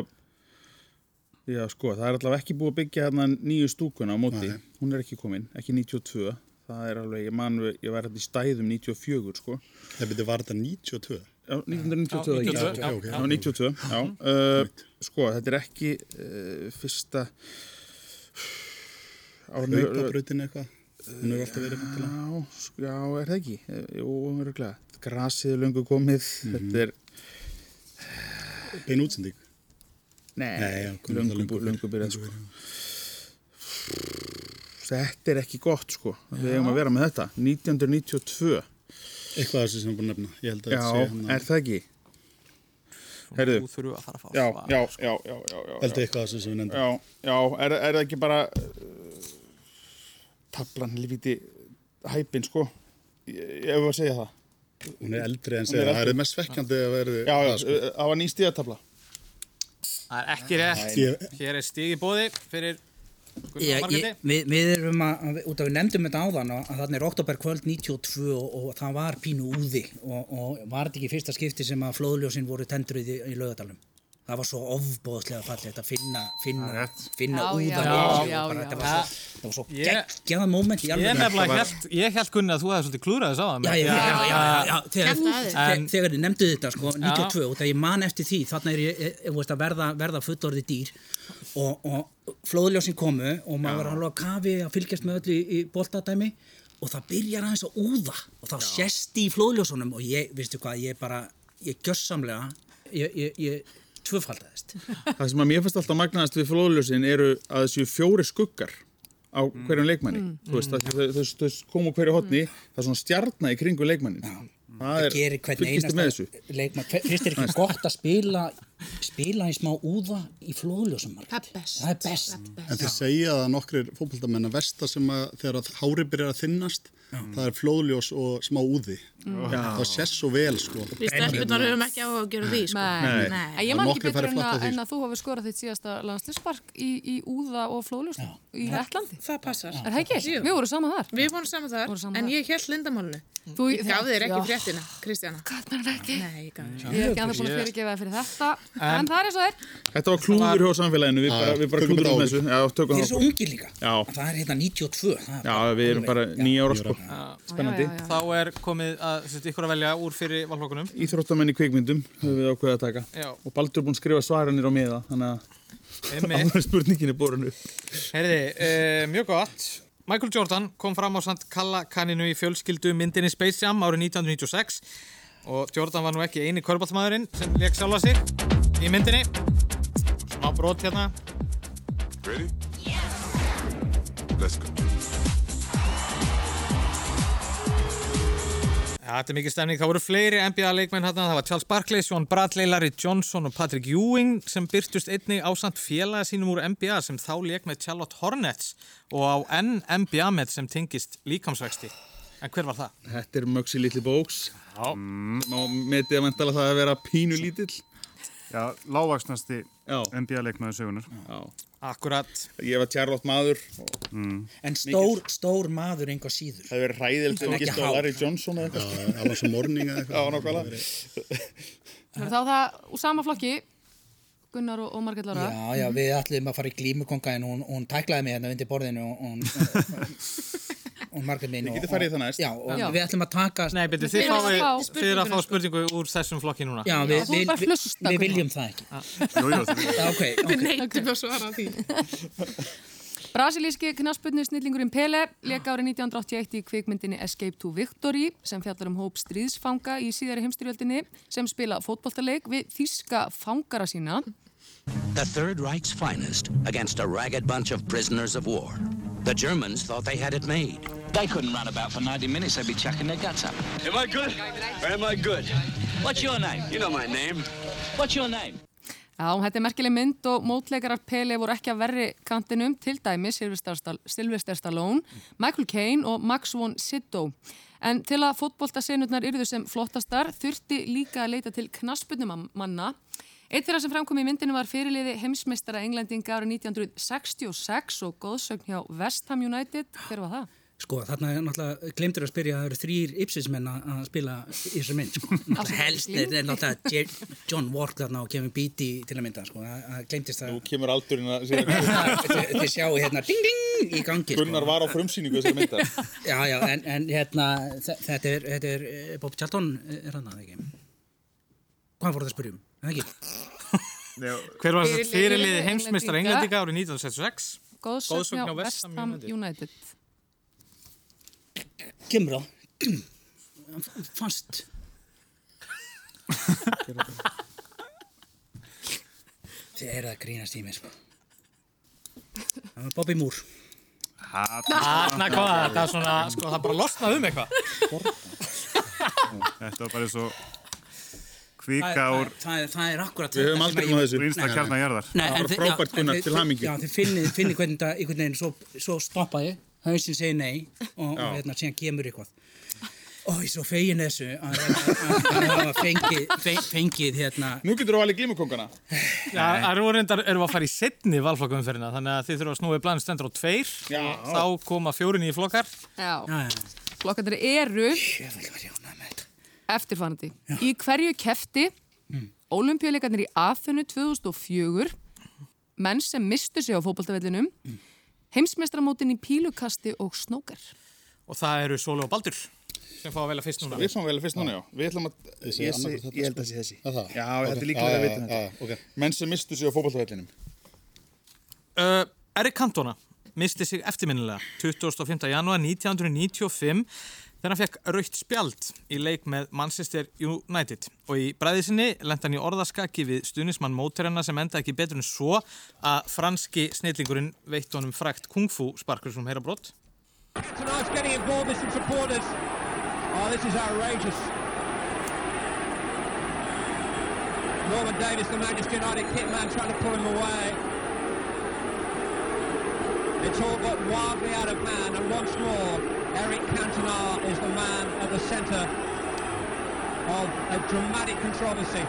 S6: já sko, það er allavega ekki búið að byggja hérna nýju stúkuna á móti
S7: Nei.
S6: hún er ekki komin, ekki 92 það er alveg, ég man, við- ég var hérna í stæðum 94 sko
S7: Það byrði var þetta 92
S6: Já, 1992
S1: Já,
S6: ekki?
S1: 92, já,
S6: já,
S1: já.
S6: 92, já.
S7: Mhm.
S6: Uh, sko, þetta er ekki uh, fyrsta árið-
S7: Hlaupabrautin eitthvað Hún hefur alltaf verið með til að
S6: Já, sk- já, er það ekki? Eh, Jú, öruglega. Grasið er löngu komið,
S7: Mhm.
S6: þetta er
S7: bein útsending
S6: Nei,
S7: Nei, já, komið
S6: löngu,
S7: það
S6: löngu,
S7: löngu fyrir.
S6: byrjað sko. Þetta er ekki gott sko, við eigum að vera með þetta 1992,
S7: Eitthvað af þessu sem ég er búin að nefna Ég held
S6: já,
S7: að þetta hérna- sé hann
S6: er það ekki? Heyrðu.
S1: Þú þurfu að fara að fá
S6: Já,
S1: svar.
S6: já, já, já, já, já.
S7: sko. Held að eitthvað af þessu sem við nefndum
S6: Já, já, er, er það ekki bara uh, tablan helviti hæpin sko, ég ég hef að segja það
S7: Hún er eldri en
S6: Hún er
S7: segja Það
S6: eldri.
S7: er mest svekkjandi að verði sko.
S6: Já, já, uh, það var nýstíða tabla
S1: Það er ekki rétt.
S7: Ég-
S1: Hér er stígi bóði fyrir Gunnar
S4: Já,
S1: og
S4: ég,
S1: Margréti.
S4: við, við erum að, að við- út af við nefndum þetta áðan og að þarna er oktober kvöld 92 og, og það var pínu úði og, og var þetta ekki fyrsta skipti sem að flóðljósin voru tendruð í, í laugadalum það var svo ofbóðslega fallið að finna,
S3: Það er
S4: finna,
S3: rétt.
S4: finna
S11: Já, já,
S4: úðan
S11: já,
S4: og
S11: já,
S4: bara
S11: já.
S4: þetta var svo, það var svo
S1: Ég-
S4: geggjað moment í
S1: Ég
S4: alveg
S1: nefnilega held, ég held Gunni að þú hefði svolítið klúðrað þess á það.
S4: Já, já, já, já, já, já, þegar,
S5: Kjaftaði.
S4: þegar,
S1: En-
S4: þegar þið nefndu þetta sko, 92 og þegar ég man eftir því þannig er ég, ég, ég veist, að verða, verða fullorði dýr og, og flóðljósin komu og maður var alveg að kafi að fylgjast með öllu í, í boltadæmi og það byrjar aðeins að úða og þá sést í flóðljósunum og ég, veistu hvað, ég bara ég gjössamlega ég, ég, ég tvöfaldaðist
S6: Það sem að mér finnst alltaf magnaðast við flóðljósin eru að þessu fjóri skuggar á hverjum leikmanni
S1: Mm.
S6: þú veist, að þau, þau, þau, þau komu hverju hotni það er svona stjarna í kringu leikmannin það
S4: það gerir hvern
S6: fylgistu með þessu
S4: einasta leikmann Hver- finnst þér ekki gott að spila spila í smá úða í flóðljósum Margrét?
S5: Það er best.
S4: það er best
S7: En þeir segja það nokkrir fótboltamenn að versta sem að þegar að hári byrjar að þinnast það er flóðljós og smá úði það sést svo vel sko
S5: Við stelpunar höfum ekki á að gera því, sko.
S11: Nei.
S5: Nei.
S11: En ég man ekki
S7: Nokkrir
S11: betur
S7: færi
S11: en
S7: flatt á
S11: að,
S7: því,
S11: en að þú hafi skorað þitt síðasta landslisspark í, í Úða og Flóljus í Lettlandi.
S5: Það passar.
S11: Er það ekki?
S5: Jú.
S11: Við vorum saman þar.
S5: Við vorum saman þar,
S11: Voru saman
S5: en
S11: þar.
S5: ég held lindamálinu.
S11: Þú
S5: Ég gaf þér ekki
S11: Já.
S5: fréttina, Kristjana.
S11: Gat mér það ekki.
S5: Nei, ég gaf þér.
S11: Ég er ekki annað búin að fyrirgefa þér fyrir þetta. En, það er eins og það er.
S6: Þetta var klúður hjá samfélaginu, við
S7: Já,
S6: bara, við bara
S7: tökum
S6: klúðum
S7: þetta á
S6: þessu Já, tökum
S4: þeir eru
S6: það
S4: svo
S6: okkur.
S4: ungir líka
S6: Já.
S4: það er hérna 92 það er
S6: Já, við erum bara nýja ára sko Spennandi.
S11: Já, já, já.
S1: Þá er komið að setja ykkur að velja úr fyrir valflokkunum.
S6: Íþróttamenn í kvikmyndum höfum við ákveðið að taka
S1: Já.
S6: og Baldur er búinn að skrifa svaranir á miða þannig að
S1: Einmitt.
S6: áður en spurningin er borun upp
S1: Herði, uh, mjög gott. Michael Jordan kom fram á samt Kalla kanninu í fjölskyldu myndinni Space Jam árið 1996 og Jordan var nú ekki eini körbáltmaðurinn sem leik sjálfa sig í myndinni. Smá brot hérna.
S14: Ready? Yeah. Let's go.
S1: Ja, þetta er mikið stemning. Það voru fleiri NBA-leikmenn hérna. Það var Charles Barkley, Sean Bradley, Larry Johnson og Patrick Ewing sem byrtust einnig ásamt félaga sínum úr NBA sem þá leik með Charlotte Hornets og á enn NBA-met sem tengist líkamsvexti. En hver var það?
S6: Þetta er Möxi Little Bóks Má metið að vantala það að vera pínu lítill
S3: Já, lágvaksnasti
S6: Já.
S3: NBA-leikmaður sögunar
S6: Já.
S1: Akkurat.
S6: Ég var Charlotte maður og
S4: en stór, stór maður einhvað síður
S6: það hefði verið ræðild
S4: Hann
S6: ef
S4: er ekki
S6: ekki stóð
S4: hár.
S6: Larry Johnson eða eitthvað.
S7: það var svo morning eða
S6: Já,
S7: eitthvað
S6: nákvæmlega.
S11: Það er þá það úr sama flokki, Gunnar og, og Margrét Lára.
S4: já, já, við ætlum að fara í glímukonga en hún, hún tæklaði mig hérna undir borðinu og hún, hún, hún, og Margrét minn
S6: Þið
S4: og-
S6: getið farið í það næst.
S4: Já, og
S6: Já.
S4: við ætlum að taka
S1: Nei, betur, þið, fáið- þið er að fá spurningu úr þessum flokki núna
S4: Já, við, við, við, við viljum það ekki
S1: Jú, jú,
S4: það er ok, ok.
S5: Við neytum að svara því.
S11: Brasilíski knaspunni snillingurinn Pele leka árið 1981 í kvikmyndinni Escape to Victory sem fjallar um hóp stríðsfanga í síðari heimstyrjöldinni sem spila fótboltaleik við þýska fangara sína.
S15: The Third Reich's finest against a ragged bunch of prisoners of war. The Germans thought they had it made. They couldn't run about for 90 minutes, they'd be chucking their guts up.
S16: Am I good? Or am I good? What's your name? You know my name. What's your name?
S11: Já, þetta er merkileg mynd og mótleikarar Pele voru ekki að verri kantinum, til dæmi Sylvester Stall- Sylvester Stallone, Michael Caine og Max von Sydow. En til að fótboltasenurnar yrðu sem flottastar þurfti líka að leita til knaspunumanna. Eitt þeirra sem framkom í myndinu var fyrirliði heimsmeistara englendinga árið 1966 og góðsögn hjá West Ham United. Hver var það?
S4: Sko, þarna er náttúrulega glemtur að spyrja að það eru þrýr ipsismenn að að spila í þessu mynd, sko. Náttúrulega helst er er náttúrulega Jer- John Wark þarna og Kevin Beatty til að mynda, sko. Það það glemtist það. Nú
S6: kemur aldurinn að
S4: Þið sjáu hérna ding ding í gangi, sko.
S6: Gunnar var á frumsýningu þessar myndar.
S4: Já, já, en, en hérna, þe- þetta er, þetta er eh, Bob Charlton eh, er hann að ekki. Hvað voru það að spyrja um? Er Það ekki?
S1: Hver var
S11: Fyrirliði
S1: fyrirlið heimsmeistar
S11: Englendinga.
S1: Englendinga árið 1966?
S11: Góðsögn hjá West Ham United.
S4: Kemur á. Fast. Þið eru að grínast í mér, sko. Það var Bobby Moore.
S1: Þarna kom það, það er svona, sko, það bara losnaði um eitthvað.
S3: Þetta var bara eins og kvika
S4: Það-
S3: úr...
S4: Það, það er akkurat
S3: Við höfum aldrei komið að þessu. Vinstra
S4: Nei,
S3: kjarna
S4: nei.
S3: jarðar.
S4: Nei,
S3: Það
S4: en
S3: var
S4: þið-
S3: frábært,
S4: já,
S3: Gunnar,
S4: en þið-
S3: til hamingju.
S4: Já, þið finnið, finnið hvernig það einhvern veginn svo, svo stoppaði hausin segir nei og, og
S3: Já.
S4: hérna síðan kemur eitthvað og ég er svo fegin þessu að að- að- að hafa fengið, fe- fengið hérna
S6: Nú getur þú alveg glímukongana.
S1: Já, það eru reyndar, erum við að fara í setni valflokkumferðina, þannig að þið þurfum að snúi blæðin stendur á tveir,
S6: Já.
S1: þá koma fjórin í flokkar.
S11: Já.
S1: Já, já.
S11: Flokkarnir eru eftirfarandi. Í hverju kefti mm. í Aþunu 2004 menn sem mistu sig á fótboltavellinum mm. heimsmestramótin í pílukasti og snókar.
S1: Og það eru Sóli og Baldur sem fá að velja fyrst núna.
S6: Við fáum vel fyrst núna, já. Við ætlum að...
S1: Þessi er
S6: Ég
S1: annað
S6: sé-
S1: hvort þetta,
S6: ég held að sé þessi. Já,
S1: Ok.
S6: þetta er líklega að
S1: Já,
S6: vita
S1: já,
S6: um þetta. Menn sem mistu sig á fótballtavellinum.
S1: Uh, Erik Cantona misti sig eftirminnilega 25. janúar 1995 þegar hann fekk raukt spjald í leik með Manchester United og í bræði sinni lent hann í orðaskaki við stuðnismann móterinna sem enda ekki betur en svo að franski snillingurinn veitt honum frækt kungfu sparkur sem heyra brott
S17: Tonight's getting involved with some supporters. Oh, this is outrageous. Norman Davis, the Manchester United kit man, trying to pull him away. It's all got wildly out of hand, and once more, Eric Cantona is the man at the centre of a dramatic controversy.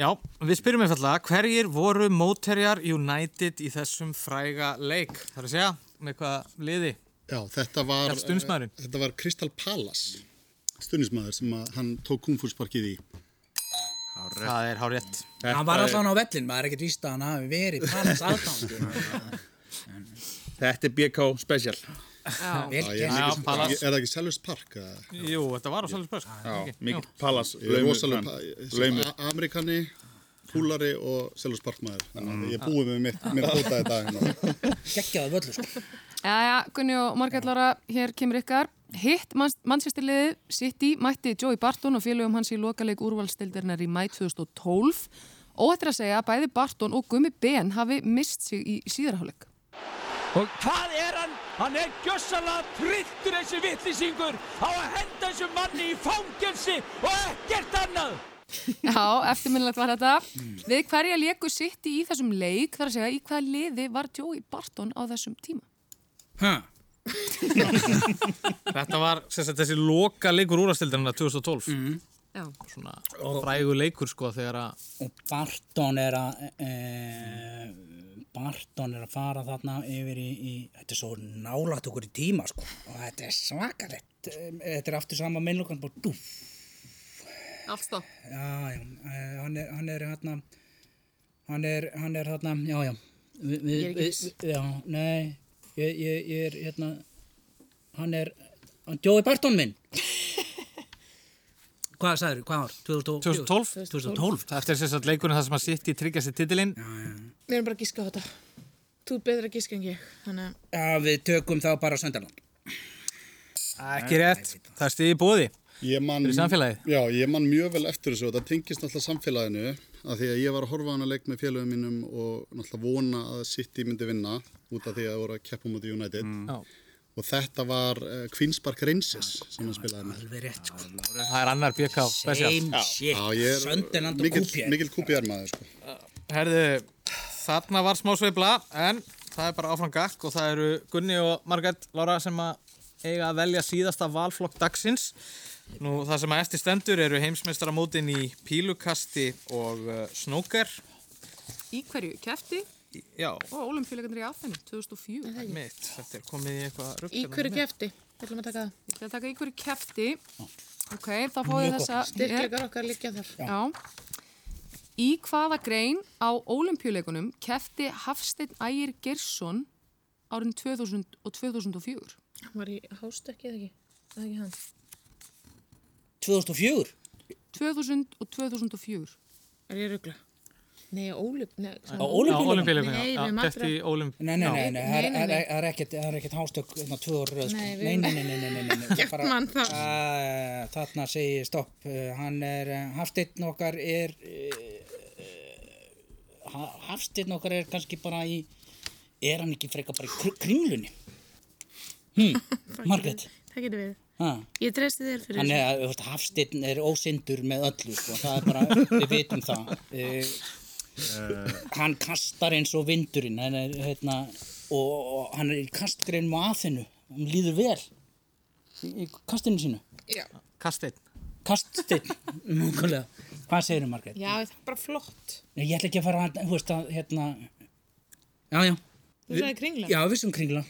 S1: Já, við spyrjum einfallega, hverjir voru móterjar United í þessum fræga leik? Það er að segja, með hvaða liði?
S7: Já, þetta var...
S1: Þetta stundsmaðurinn.
S7: eh, Þetta var Crystal Palace, stunnismæður sem að hann tók kungfúrsparkið í.
S1: Það er hár rétt.
S4: hann var alltaf á vellin, maður er ekkert víst að hann hafi verið palans aðgang
S6: Þetta er BK Special.
S4: Já. Vel
S7: ég-
S4: gert.
S7: ég-
S4: Já,
S7: ég-
S4: Palace.
S7: Er það ekki Sellers Park? eða?
S1: Jú, þetta var á Sælus Börs.
S6: Já, mikill Palace,
S7: Ég er
S6: laumur
S7: rosalega
S6: menn.
S7: pa- sem
S6: Laumur.
S7: a- Amerikani, húlari og Sellers Park maður. Þannig að ég búið með mitt, mér bóta þetta. hérna.
S4: geggjaði völlu sko
S11: Jæja, Gunni og Margrét Lára, hér kemur ykkar. Hitt mannsýstirliðið City mætti Joey Barton og félögum hans í lokaleik úrvalstildarinnar í mæ 2012 og þetta er að segja að bæði Barton og Gummi Ben hafi mist sig í síðarháleik.
S16: Og hvað er hann? Hann er gjössalega trylltur þessi vittlisingur á að henda þessum manni í fangelsi og ekkert annað.
S11: Já, eftirminnilegt var þetta. Við hverja leku sitt í þessum leik, þar að segja, í hvaða liði var Joey Barton á þessum tíma?
S1: Þetta var sem sagt, þessi loka leikur úrastildarinn 2012
S11: Já.
S1: Svona frægur leikur sko þegar að
S4: Barton er að e, Barton er að fara þarna yfir í, í þetta er svo nálægt okkur í tíma sko og þetta er svakalegt Em, þetta er aftur sama minnlokan bara dúf
S11: Allstof.
S4: já, já, e, hann er hann er hérna hann er, hann er hérna, já, já vi, vi,
S2: Ég er ekki viss.
S4: já, nei ég, ég, ég er hérna hann er Hann Joey Barton minn Hvað sagður, hvað ár? 2004?
S1: 2012
S4: 2012
S1: Það eftir þess að leikunum það sem að sitt í tryggja sér titilinn
S5: Við erum bara að gíska á þetta. Þú er betra að gíska en ég. Þannig að
S4: Já, við tökum þá bara Söndaland
S1: Ekki rétt, það er stiði bóði
S7: Fyrir
S1: samfélagið?
S7: Já, ég man mjög vel eftir þessu og það tengist náttúrulega samfélaginu af því að ég var að horfa á hana leik með félögum mínum og náttúrulega vona að City myndi vinna út af því að það voru að keppa mútið United
S1: Já.
S7: og þetta var uh, Queen's Park Rangers sem hann spilaði með
S4: Alveg rétt sko
S1: Það er annar BK special.
S7: Já. Já, ég er mikill- Mikill QPR maður sko
S1: Herðu, þarna var smá sveifla en það er bara áfram gakk og það eru Gunni og Margrét Lára sem að eiga að velja síðasta valflokk dagsins. Nú það sem að eftir stendur eru heimsmeistaramótin í pílukasti og uh, snóker.
S11: Í hverju? Kefti?
S1: Já,
S11: Og ólumpíuleikandir í aðfennu, 2004.
S1: mitt, þetta er komið í eitthvað rugl. hérna.
S5: í hverju kefti? Við ætlum að taka það.
S11: Ég ætla að taka í hverju kefti. Ok, þá fáið
S5: Mjög
S11: þessa...
S5: gott. Styrkleikar okkar liggja þar.
S11: Já. Í hvaða grein á ólimpíuleikunum kefti Hafsteinn Ægir Gersson árin 2000 og 2004?
S5: Hann var í hástökki eða ekki? Eða ekki hann?
S4: 2004?
S11: 2000 og 2004.
S5: Er ég ruggla? Nei, ólup... Nei,
S4: Á Ólympíuleikunum?
S1: Ólympíuleikunum, já,
S5: Nei, við erum
S1: keppt í
S5: aldrei-
S1: Ólympíuleikunum.
S4: Nei, nei, nei, nei,
S5: Nei,
S4: það er-
S5: nei,
S4: það
S5: nei.
S4: er- það er ekkert, það er ekkert hástök þarna tvö orð röð, sko.
S5: Nei, við-
S4: Nei, nei, nei, nei, nei, nei, nei, nei. bara-
S5: mann þar.
S4: Æ, Þarna segi ég stopp, Uh, hann er, uh, Hafsteinn okkar er, uh, ha- Hafsteinn okkar er kannski bara í, er hann ekki frekar bara í kr- kringlunni? Hm, Margrét,
S5: Það getur við.
S4: ha?
S5: Ég treysti þér fyrir
S4: Hann
S5: þessu.
S4: er, þú veist, Hafsteinn er ósindur með öllu, sko, það er bara, við vitum það. Uh,
S6: Eh.
S4: hann kastar eins og vindurinn hann er, hérna, og, og hann er í kastgreinum á aðinu hann líður vel í, í kastinu sínu
S5: Já.
S1: Kasteinn
S4: Kasteinn, mjögulega Hvað segirðu, Margrét?
S5: Já, það er bara flott.
S4: Nei, Ég ætla ekki að fara að, þú veist að, hérna Já, já
S5: Þú sagði Kringla.
S4: Já, við sem kringla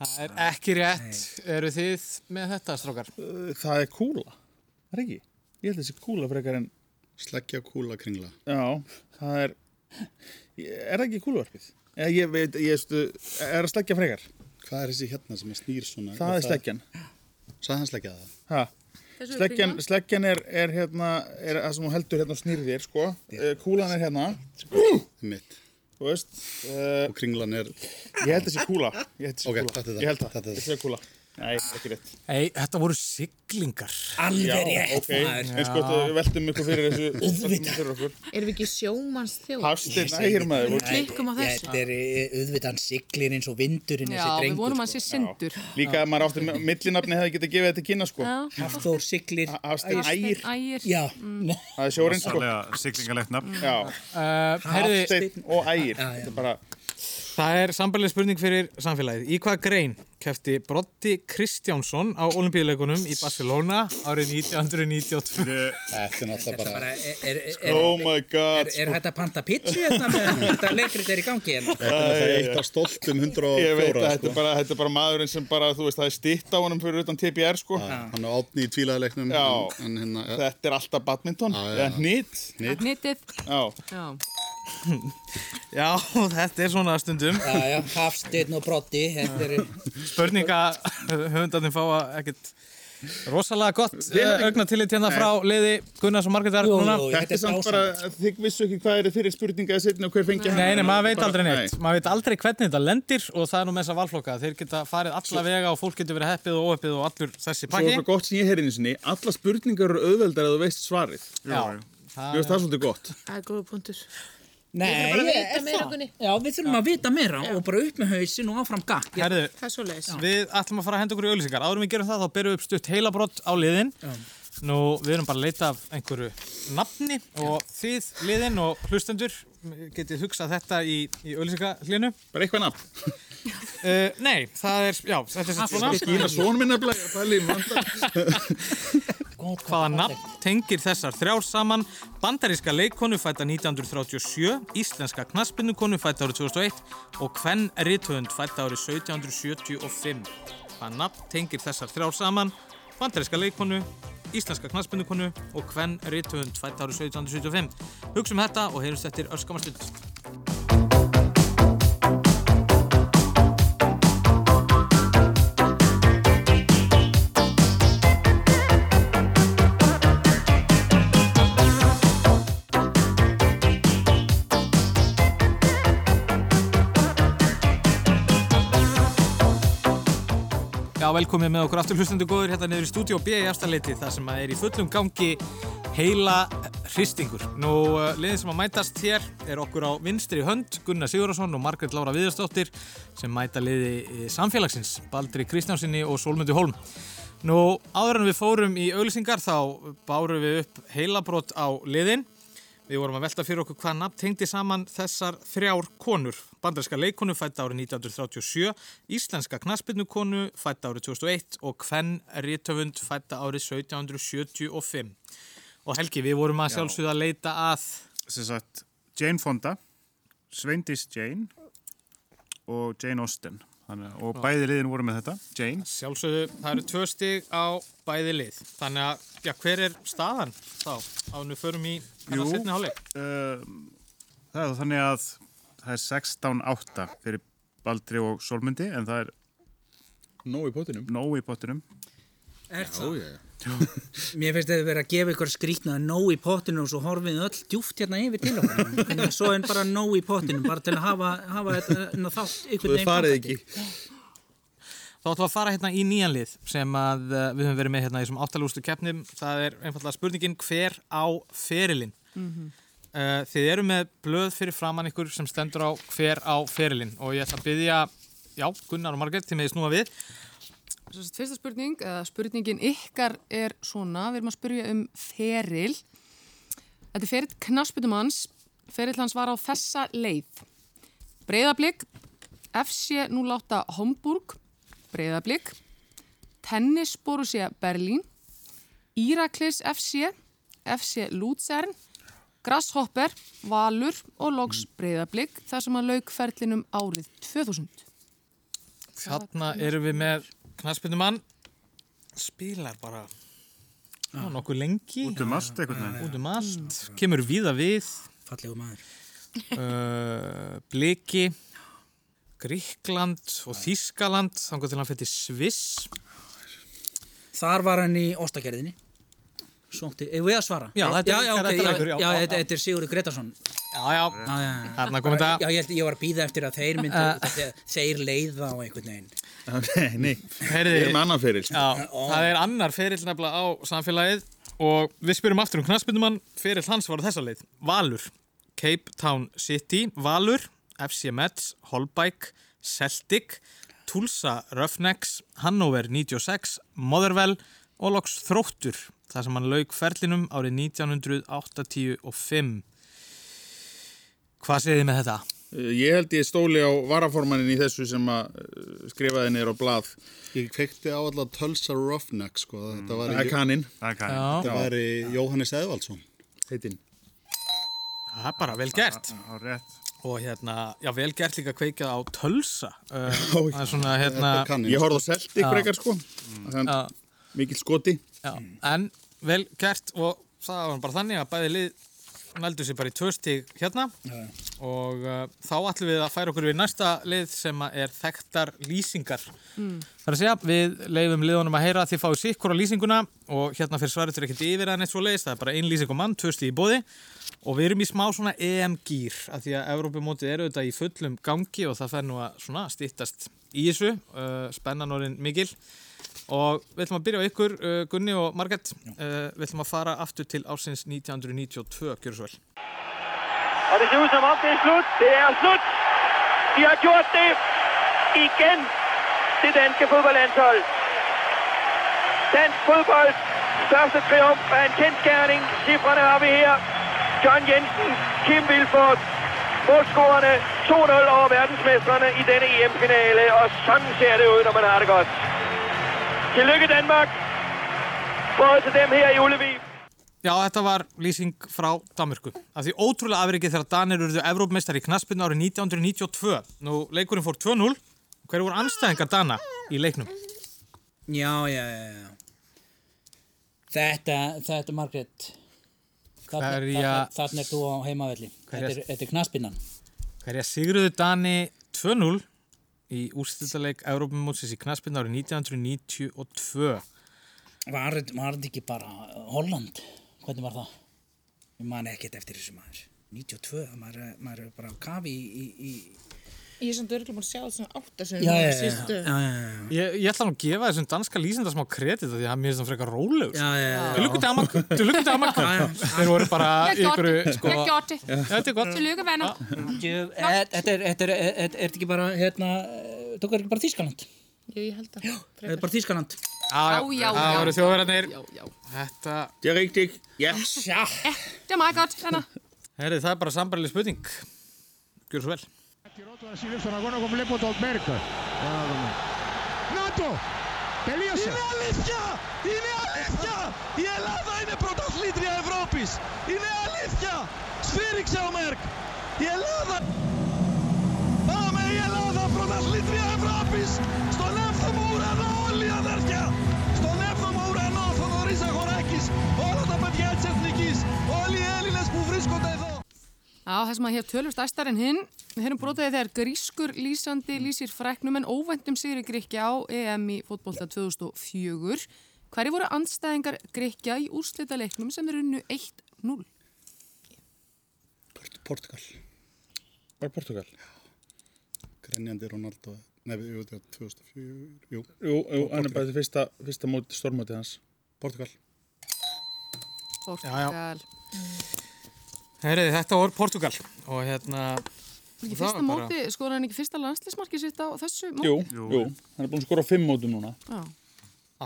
S1: Það er ekki rétt. Eru þið með þetta, strókar?
S6: Það er kúla, það er ekki? Ég held að þessi kúla frekar en...
S7: Sleggja kúla kringla.
S6: Já, það er... Er það ekki kúluvarpið? Ég, ég veit, ég stu, er það sleggja frekar?
S7: Hvað er þessi hérna sem er snýr svona?
S6: Það er sleggjan.
S7: Sæði hann sleggja það?
S6: Ha.
S7: Þessu er
S6: Sleggjan,
S7: kringlan.
S6: sleggjan er, er hérna, er það sem hún heldur hérna og snýrð þér, sko. Eh, Kúlan er hérna.
S7: Mitt.
S6: Þú veist. Uh,
S7: og kringlan er...
S6: Ég held þessi kúla. Ég held þessi
S7: Ok,
S6: kúla.
S7: þetta er það.
S6: Ég held það.
S7: Þetta er það.
S6: Þetta er kúla. Nei, ekki rétt.
S1: Nei, þetta voru siglingar.
S6: Já, ok. Eins gott að við veltum ykkur fyrir þessu. Veltum fyrir okkur.
S5: Erum við ekki sjómanns þjóð?
S6: Hafsteinn Ægir, maður,
S5: Við
S6: voru-
S5: klikkum á þessu.
S4: Þetta er eh, auðvitað hann siglir eins og vindurinn
S11: Já,
S4: þessi
S11: við
S4: drengur
S11: vonum að hann sé syndur.
S6: Líka að maður átti millinafni hefði getið gefið þetta kynna, sko.
S11: Já.
S4: Hafþór siglir.
S6: Hafsteinn Ægir.
S11: Ægir.
S4: Já.
S5: Mm.
S6: Það er sjórinn, sko.
S3: Sannlega siglingalegt nafn.
S6: Já.
S1: Uh,
S6: Hafsteinn og Ægir. Þetta er bara...
S1: Það er sambarleg spurning fyrir samfélagið. Í hvað grein kefti Broddi Kristjánsson á olimpíuleikunum í Barcelona árið 1992?
S7: Þetta er náttúrulega
S4: bara- bara- er- er- er- er-
S6: Oh my god.
S4: Er, er þetta panta pitsi þetta með þetta leikrit er í gangi hérna?
S7: Þetta er náttúrulega eitt af stoltum 104.
S6: Ég veit að þetta
S7: sko.
S6: er bara, þetta er bara maðurinn sem bara, þú veist, það er stitt á honum fyrir utan TBR, sko.
S7: Hann er átni í tvílaðilegnum.
S6: Já.
S7: En, en hérna... ja.
S6: Þetta er alltaf badminton.
S7: Já, já,
S6: Eða
S7: já.
S6: nýtt.
S7: Hnit.
S11: Nýttið.
S6: Já.
S11: Já.
S1: Já, þetta er svona stundum.
S4: Já, já, Hafsteinn og Broddi, þetta er...
S1: Spurninga höfundarnir fá að ekkert rosalega gott
S6: Við erum-
S1: augna til hérna frá liði Gunnars og Margreðar núna.
S6: Þetta er samt bara, þig vissu ekki hvað er fyrir spurninga að setja og hver fengi
S1: Nei, nei, maður veit
S6: Bara-
S1: aldrei neitt.
S6: Nei.
S1: Maður veit aldrei hvernig þetta lendir og það er nú með þessa valflokka. Þeir geta farið alla vega og fólk getur verið heppið og óheppið og allur þessi
S6: Svo er
S1: pakki.
S6: það gott sem ég heyrði einu sinni, alla spurningar eru auðveldar að þú veist svarið.
S1: Já.
S6: Þú veist það er svolítið gott.
S5: Það er góða punktur.
S4: Nei,
S5: Við þurfum bara að
S4: er
S5: vita meira,
S4: það?
S5: Gunni.
S4: Já, við þurfum að vita meira og bara upp með hausin og áfram gakk. Ég-
S1: Herðu,
S5: Það er svo leiðis.
S1: Við ætlum að fara að henda okkur í auðlýsingar. Áðurum við gerum það, þá berum við upp stutt heilabrott á liðin. Nú, við erum bara að leita af einhverju nafni og þið liðin og hlustendur getið hugsað þetta í, í auðlýsingahlinu.
S6: Bara eitthvað nafn?
S1: nei, það er, já, þetta er sem svona.
S6: Skýra svonum minna blæja, pæli, manda.
S1: Hvaða nafn tengir þessar þrjár saman? Bandaríska leikkonu fætta 1937, íslenska knaspinnukonu fætta árið 2001 og hvenn rithönd fætta árið 1775. Hvaða nafn tengir þessar þrjár saman? Bandaríska leikkonu, íslenska knaspinnukonu og hvenn rithönd fætta árið 1775. Hugsum þetta og heyrjumst eftir öskamastund. velkomið með okkur aftur hlustendur góður hérna niður í stúdíu B í afstaleiti þar sem að er í fullum gangi heila hristingur. Nú, eh, liðin sem að mætast hér er okkur á vinstri hönd, Gunnar Sigurðarsson og Margrét Lára Viðarsdóttir sem mæta liði eh, samfélagsins, Baldri Kristjánsinni og Solmundu Holm. Nú, áður en við fórum í auglýsingar þá bárum við upp heilabrott á liðin. Við vorum að velta fyrir okkur hvað nafn tengdi saman þessar þrjár konur. Bandarska leikonu fætt árið 1937, íslenska knaspinnukonu fætt árið 2001 og kvenn rítöfund fætt árið 1775. Og Helgi, við vorum að sjálfsögða að leita að...
S3: Sem sagt, Jane Fonda, Sveindis Jane og Jane Austen. Þannig, og
S1: Já.
S3: bæði liðin voru með þetta, Jane.
S1: Sjálfsögðu, það eru tvö stig á bæði lið. Þannig að, já, hver er staðan þá? Ánum við förum í
S3: Jú,
S1: hennar setni hálfleik.
S3: um, það er þá þannig að það er 16-8 fyrir Baldri og Solmundi en það er
S6: Nóg í pottinum
S3: Nóg í pottinum
S4: Er það? Mér finnst að þið verið að gefa ykkur skrýtna nóg í pottinu og svo horfið þið öll djúft hérna yfir til okkur. Þannig að Svo en bara nóg í pottinu, bara til að hafa, hafa þetta eh, ná, þátt ykkur
S6: Þú farið ekki.
S1: Þá ætlum við að fara hérna í nýjan lið sem að eh, við höfum verið með hérna í þessum áttalústu keppnum. Það er einfallega spurningin hver á ferilinn.
S18: Mhm.
S1: Uh, þið eru með blöð fyrir framann ykkur sem stendur á hver á ferilinn og ég ætla að byggja, já, Gunnar og Margrét, þið meði snúa við.
S11: Svo sett fyrsta spurning, eða spurningin ykkar er svona, við erum að spyrja um feril. Þetta er ferill knassbytumanns, ferill hans var á þessa leið. Breiðablík, FC 08 Homburg, Breiðablík, Tennis Borussia Berlín, Íraklis FC, FC Luzern, Grasshopper, Valur og Logs
S1: Mm.
S11: Breiðablík, þar sem að lauk ferlinum árið 2000.
S1: Þarna erum við með knassbyndumann, spilar bara já, nokkuð lengi.
S3: Ah. Út um allt einhvern veginn.
S1: Út um allt, kemur víða við.
S4: Fallegu maður.
S1: Uh, Bliki, Gríkland og Þískaland, þangar til hann fyrir Sviss.
S4: Þar var hann í Óstakerðinni. Svonti, erum við að svara?
S1: Já, þetta er-
S4: já, já,
S1: þetta er
S4: ok,
S1: leikur, já,
S4: já,
S1: já,
S4: þetta- þetta er Sigurður Gretarsson.
S1: Já, já,
S4: já, já.
S1: Þarna kom þetta.
S4: Já, ég, held- ég var að býða eftir að þeir myndu,
S1: Eh.
S4: þeir, þeir leiða á einhvern veginn.
S6: Nei, nei, við erum annan fyrir
S1: Já, það er annar ferill nefnilega á samfélagið og við spyrum aftur um knassbyndumann ferill hans var á þessa leið Valur, Cape Town City Valur, FC Mets, Holbæk Celtic Tulsa Roughnecks, Hannover 96 Motherwell og loks Þróttur, þar sem hann lauk ferlinum árið 1985 Hvað segir þið með þetta?
S6: Eh, Ég held ég stóli á varaformannin í þessu sem að uh, skrifaði niður á blað
S7: Ég kveikti á alltaf Tulsa Roughneck sko. Þetta var
S6: Það er kaninn.
S3: Það er
S6: kaninn. Já.
S7: Þetta var í Jóhannes Eðvaldsson
S6: Heitinn
S1: Það er bara vel gert
S3: á, á,
S1: Og hérna, já vel gert líka kveikjað á Tölsa uh, Það er svona hérna
S6: Ég horfði á Celtic
S1: Já.
S6: frekar sko Þann,
S1: Já.
S6: Mikil skoti
S1: Já, en vel gert og það var bara þannig að bæði lið nældu sér bara í tvö stig hérna
S6: Já.
S1: og uh, þá ætlum við að færa okkur við næsta lið sem að er þekktar lýsingar.
S18: Mm.
S1: Það er að segja, við leifum liðunum að heyra að þið fáið sikkur á lýsinguna og hérna fyrir svarið er ekkert yfir að neitt svo leiðis, það er bara ein lýsing og mann, tvö stig í bóði og við erum í smá svona EM-gýr af því að Evrópumótið eru auðvitað í fullum gangi og það fer nú að svona stýttast í þessu, uh, spennan orðin mikil og við ætlum að byrja á ykkur uh, Gunni og Margett uh, við ætlum að fara aftur til ásins 1992 gjör svo vel
S19: Og det ser ud som om, det er slut. Det er slut. De har gjort det igen, det danske fodboldlandshold. Dansk fodbold. Første triumf er en kendt gerning. Cifrene har vi her. John Jensen, Kim Vilfort. Målscorerne 2-0 over verdensmestrene i denne EM-finale. Og sådan ser det ud, når man har det godt. Tillykke Danmark. Både til dem her i Ullevi.
S1: Já, þetta var lýsing frá Danmörku. Af því ótrúlega afrikið þegar Danir urðu Evrópmeistar í knaspinu árið 1992. Nú, leikurinn fór 2-0. Hver voru anstæðingar Dana í leiknum?
S4: Já, já, já, já. Þetta, þetta er Margrét.
S1: Hverja-
S4: Þarna er þú á heimavelli.
S1: Hverja-
S4: Þetta er, þetta er knaspinnan.
S1: Hverja sigruðu Dani 2-0 í úrstildaleik Evrópumótsins í knaspinu árið 1992.
S4: Var, var þetta ekki bara Holland? Hvernig var það? Ég man ekkert eftir þessu maður. 92, maður, maður er bara á kafi í, í, í
S5: Ég er samt örgulega búin að sjá þetta svona áttasunum
S1: Já, já, já, Ég, ég ætla nú að gefa þessum danska lýsenda smá kredit af því að hann mér finnst það frekar rólegur sko.
S4: Já, já, já.
S1: Til lukku til Amakku Til lukku til Amakku Þeir voru bara
S4: Ég
S1: í
S4: got
S1: einhverju
S4: it.
S1: sko
S4: Ég got it.
S1: Já, Þetta er gott
S5: Tilluga venna
S4: Djöf- eh, Þetta er, þetta er, eh, eh, þetta er ekki bara, hérna, eh, tók er ekki bara Þískaland?
S5: Jú, ég held að
S4: Þetta er Eh, bara Þískaland.
S1: Já,
S11: Já, já,
S1: Það
S11: já,
S1: voru þjóðverðarnir
S11: Já, já.
S1: Þetta
S6: Ég reykti ekki Yes
S4: Já
S11: Já, maður gott, hérna
S1: Herri, það er bara sambarileg spurning Gjör svo vel
S18: Ασύ στον αγώνα εγώ βλέπω τον Μπέρκα. Να το! Τελείωσε! Είναι αλήθεια! Είναι αλήθεια! Η Ελλάδα είναι πρωταθλήτρια Ευρώπης! Είναι αλήθεια! Σφύριξε ο Μέρκ! Η Ελλάδα... Πάμε η Ελλάδα πρωταθλήτρια Ευρώπης! Στον 7ο ουρανό όλοι αδέρφια! Στον 7ο ουρανό Θοδωρής Αγοράκης! Όλα τα παιδιά της Εθνικής! Όλοι οι Έλληνες που βρίσκονται εδώ!
S11: Já, það sem að hér tölur stærstar en hinn. Við höfum brotaðið þegar grískur lýsandi lýsir fræknum en óvæntum sigri Gríkja á EM í fótbolta 2004. Hverju voru andstæðingar Gríkja í úrslita leiknum sem er unnu 1-0?
S4: Portugal.
S7: Var Portugal? Grenjandi Ronaldo, nei, við erum 2004, jú.
S6: Jú, jú, hann er bara því fyrsta, fyrsta móti, stormóti hans
S7: Portugal
S11: Portugal.
S1: Herri, þetta voru Portugal Og hérna
S11: Var ekki
S6: Það
S11: fyrsta
S6: var bara-
S11: móti, sko, hann ekki fyrsta landslismarki sitt á þessu móti?
S6: Jú, jú, hann er búin að skora á fimm mótum núna
S11: Já.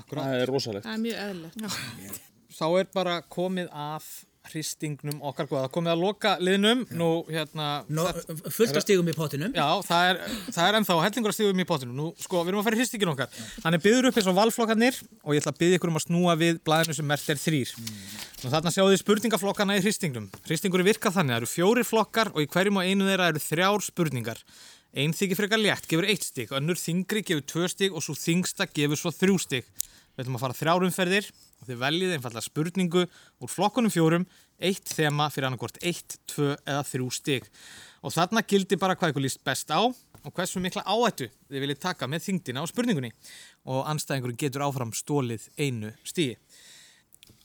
S1: Akkurát.
S6: Það er rosalegt
S5: Það er mjög eðlilegt.
S1: Þá er bara komið af hristingnum okkar góða, komið að loka liðnum nú hérna
S4: Nó, eh, fullt af stigum í pottinum
S1: já, það er, það er ennþá hellingur af stigum í pottinum nú sko, við erum að fara í hristingin okkar hann er byður upp eins og valflokkarnir og ég ætla að byðja ykkur um að snúa við blæðinu sem mert er þrýr og þarna sjáðu þið spurningaflokkana í hristingnum hristingur virka þannig, það eru fjórir flokkar og í hverjum og einu þeirra eru þrjár spurningar ein þykir frekar létt, gefur eitt stig önnur þingri gefur tvö stig og svo þingsta gefur svo þrjú stig Við ætlum að fara þrjárumferðir og þið veljið einfallega spurningu úr flokkunum fjórum, eitt þema fyrir annarkvort eitt, tvö eða þrjú stig. Og þarna gildi bara hvað ykkur líst best á og hversu mikla áættu þið viljið taka með þingdina á spurningunni og anstæðingur getur áfram stólið einu stíi.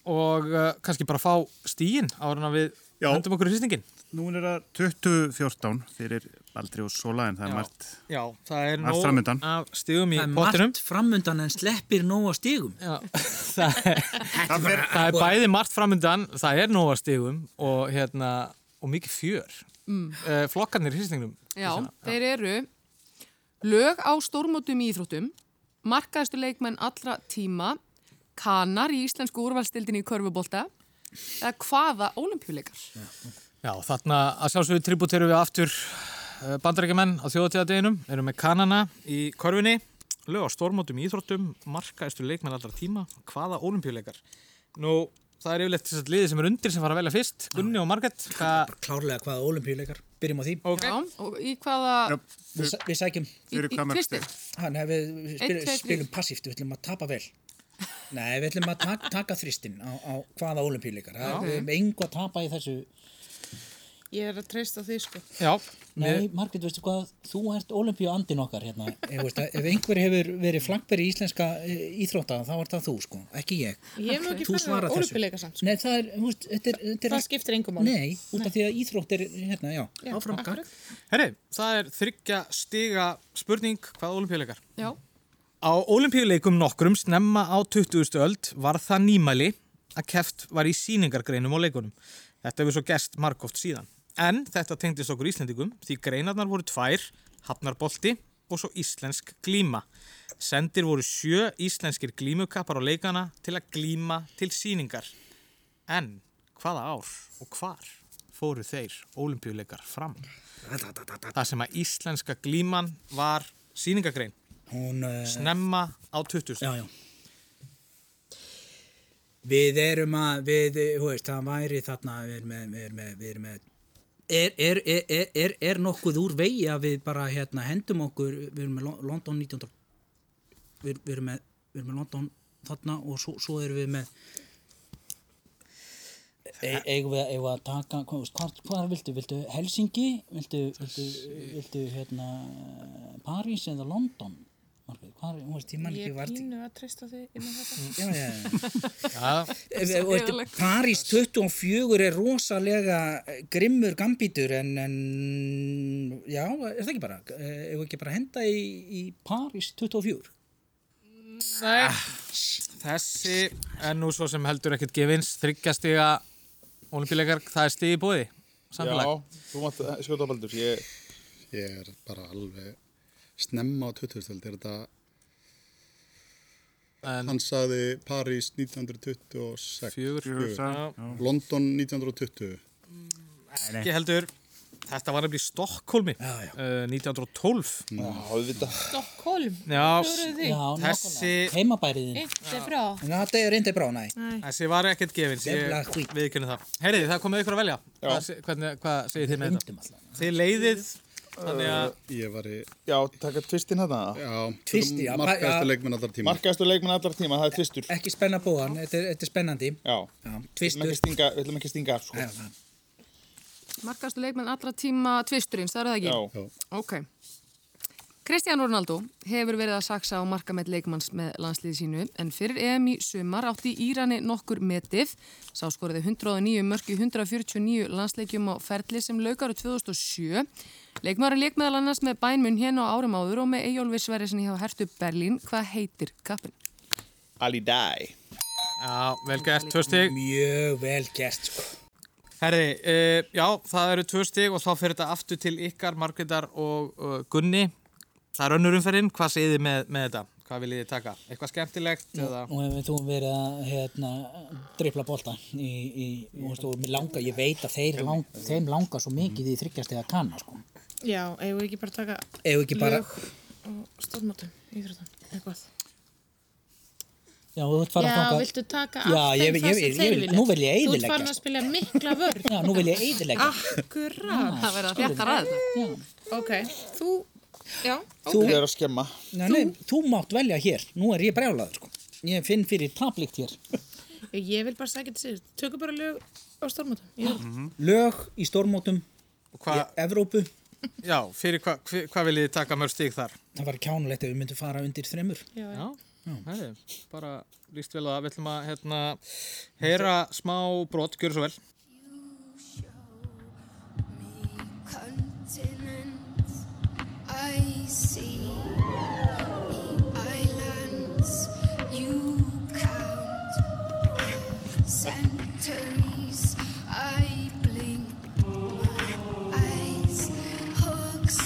S1: Og uh, kannski bara fá stíin ára við Já. hendum okkur í hristingin.
S3: Nú er það 2014 fyrir Baldri og Sola en það er margt
S1: Já, það er
S3: Margt framundan.
S1: af stigum í
S3: Það er margt
S1: pottinum.
S4: framundan en sleppir nóg að stigum
S1: Já, það er, það er, bæði margt framundan, það er nóg að stigum og, hérna, og mikið fjör. Mm. flokkarnir í hristingnum.
S11: Já, þeir eru lög á stórmótum í Íþróttum, markaðustu leikmenn allra tíma, kanar í íslensku úrvalstildinni í körfubólta, eða hvaða ólimpíuleikar?
S1: Já, þarna að sjálfsögðu tributerum við aftur bandarækjumenn á þjóðatíðadeginum, erum með kanana í korfinni, lög á stórmótum í íþróttum, markaðistu leikmenn allra tíma, hvaða ólimpíuleikar. Nú, það er yfirleitt þess að liði sem er undir sem fara að velja fyrst, Gunni og Marget. Hva...
S4: Klárlega hvaða ólimpíuleikar, byrjum á því
S1: okay.
S11: Já, og í hvaða...
S4: Við, sæ- við sækjum
S11: Fyrir Í- í hvað mörg fyrstu? stig?
S4: Ha, Nei, við við spilum,
S11: Einn, tveir,
S4: spilum passíft, við ætlum að tapa vel Nei, við ætlum að ta taka þristinn á, á hvaða ólimpíuleikar
S5: Já.
S4: Við hefum engu að tapa í þessu
S5: Ég er að treysta því, sko.
S1: Já
S4: Nei, Margrét, veistu hvað, þú ert olimpíu andin okkar hérna Ég veist að Ef einhver hefur verið flankberi í íslenska eh, íþrótta þá er það þú sko, ekki ég
S5: Ég hef nú ekki
S4: Þú
S5: farið á
S4: svarar þessu.
S5: Ólympíuleika samt,
S4: Nei, það er, þú veist, þetta er, þetta er
S5: Það skiptir engu máli.
S4: Nei, út af því að íþrótt er, hérna, já,
S5: Já,
S4: áfram gang
S5: akkurat.
S1: Herri, það er þryggja stiga spurning, hvaða ólimpíuleikar?
S11: Já.
S1: Á olimpíuleikum nokkrum snemma á 20. öld var það nýmæli að keft var í síningargreinum á leikunum. Þetta hefur svo gest margóft síðan. En þetta tengdist okkur Íslendingum því greinarnar voru tvær, hafnarbolti og svo íslensk glíma. Sendir voru sjö íslenskir glímukappar á leikana til að glíma til síningar. En hvaða ár og hvar fóru þeir olimpíuleikar fram? Það sem að íslenska glíman var síningagrein.
S4: Hún, uh,
S1: Snemma á 20.
S4: Já, já. Við erum að, við, eh, þú veist, það væri þarna, við erum með, við erum með, við erum með Er, er, er, er- er, er nokkuð úr vegi að við bara hérna hendum okkur við erum með Lon- London 19 við, við, erum með, við erum með London þarna og svo, svo erum við með e, eigum, við, eigum við að taka hvað, þú veist, hvað, hvað viltu, viltu Helsingi viltu, viltu, viltu hérna París eða London Hvað, þú veist, ég man
S5: Ég
S4: ekki
S5: er
S4: vart
S5: pínu að treysta þig innan þetta.
S4: Já, já,
S1: já.
S4: Ef- ef- og þetta- París 24 er rosalega eh, grimmur gambítur en, en já, er það ekki bara eh, ef ekki bara að henda í, í París 24
S1: Nei, Ah, þessi en nú svo sem heldur ekkert gefins þryggjastiga olimpíuleikar, það er stigi búði samfélag.
S7: Já, þú mátt eh, skjóta baldur. Ég... ég er bara alveg snemma á 2000 er þetta hann sagði París 1926
S1: Fjögur. Fjögur, sagði hann, já.
S7: London 1920
S1: Já, ekki heldur þetta var nefnilega í eh, Stokkólmi já, já. 1912 Já, auðvitað
S5: Stockholm,
S1: Já,
S5: Klóruðu því.
S1: þessi
S4: heimabæriðin
S5: Eitt er bra.
S4: það er reyndi brá, næ
S1: Þessi var ekkert gefins, ég
S4: Debla hvít.
S1: viðkynni það. Heyriði, það komið ykkur að velja. Hvað, se- hvernig, hvað segir þið með þetta? Þið leiðið, þannig að...
S7: Ég var í...
S6: Já, taka tvistinn hérna.
S7: Já,
S4: Twisti, já, ba-
S7: markaðastu
S4: já.
S7: leikmenn allar tíma
S6: Markaðastu leikmenn allar tíma, það er tvistur
S4: Ekki spenna bóðan, þetta er, þetta er spennandi
S6: Já,
S4: tvistur
S6: Við ætlum ekki að stinga- við ætlum ekki að stinga af sko.
S11: Markastu leikmenn allra tíma tvisturins, það er það ekki?
S6: Já.
S11: Ok. Kristján Ronaldo hefur verið að saksa á markamett leikmanns með landsliði sínu en fyrir EM í sumar átti Írani nokkur metið. Sá skoriði 109 mörki 149 landsleikjum á ferli sem laukaru 2007. Leikmarin leik meðal annars með bænmun hérna á árum áður og með Eyjólfi Sverjesson hjá Hertu Berlín. Hvað heitir kappin?
S6: Ali Dæ.
S1: Já, vel gert, tvö stig.
S4: Mjög vel gert, sko.
S1: Herri, uh, já, það eru tvö stig og þá fyrir þetta aftur til ykkar, Margreðar og uh, Gunni. Það er önnur umferðin, hvað segir þið með, með þetta? Hvað viljið þið taka? Eitthvað skemmtilegt?
S4: Nú,
S1: eða...
S4: nú hefur þú verið að hérna, dripla bolta í, í, þú veist, og mér langa, ég veit að þeir lang, þeim langar svo mikið í þryggjast eða kanna sko.
S5: Já, eigum við ekki bara að taka
S4: Eigum við ekki bara-
S5: lög og stofnmáttum, íþróttum, eitthvað.
S4: Já, þú vilt
S5: Já,
S4: fara þangað-
S5: viltu taka
S4: Já,
S5: af
S4: ég, ég,
S5: þeim það sem
S4: ég,
S5: þeir
S4: ég,
S5: vilja?
S4: Nú vil ég sko.
S5: Þú ert
S4: eidilegja
S5: farin að Ah, spila mikla vörð.
S4: Já, nú vil ég eyðileggja.
S5: Akkurát.
S4: Það verður að þétta raðir
S5: Ok, þú, já,
S4: Þú
S5: ok.
S4: að skemma nei, nei, Þú mátt velja hér, nú er ég brjálaður sko. Ég finn fyrir taplikt hér
S5: Ég vil bara segja þetta sér. Tökum bara lög og stofnmáttum, íþróttum.
S4: Mhm. Lög í stórmótum
S1: hva...
S4: Evrópu
S1: Já, fyrir hvað hva, hvað viljið þið taka mörg stig þar?
S4: Það var kjánulegt ef við myndum fara undir þremur
S5: Já,
S1: já. herri, bara líst vel að við ætlum að hérna, heyra smá brot, gjör svo vel.
S20: continents I see islands you count centuries I blink my eyes hooks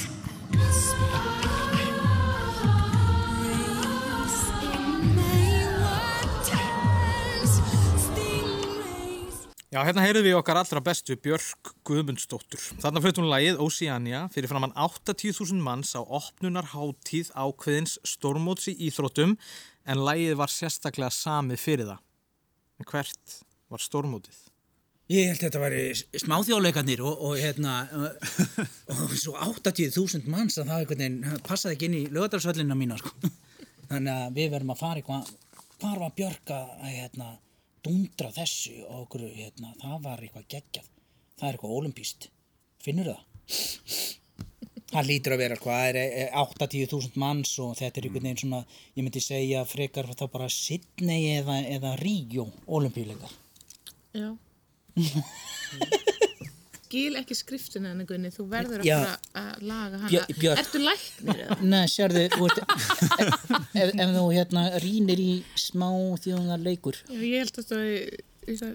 S20: and spines in my waters stingrays
S1: Já, hérna heyrðum við okkar allra bestu Björk Guðmundsdóttur. Þarna flutt hún lagið Oceania fyrir framann 80.000 manns á opnunar hátíð ákveðins stormóts í íþróttum en lagið var sérstaklega samið fyrir það. En hvert var stormótið?
S4: Ég held þetta væri smáþjóðleikarnir og, og hérna uh, og svo 80.000 manns að það einhvern veginn uh, passaði ekki inn í lögadalsvöllina mína sko. þannig að við verðum að fara eitthvað hvar var Björk að að, hérna, dundra þessu og okkur hérna, það var eitthvað geggjað það er eitthvað olimpíst, finnur það? Það lítur að vera, sko, það er eh, 80.000 manns og þetta er einhvern veginn svona, ég myndi segja frekar þá bara Sydney eða, eða Ríó, olimpíuleikar.
S5: Já. Skil ekki skriftina henni Gunni, þú verður að
S4: Já.
S5: fara að laga hana.
S4: Björ- Björk.
S5: Ertu læknir eða?
S4: Nei, sérðu, þú veist, ef, ef þú hérna rínir í smá þjóðungar leikur.
S5: Já, ég held að það er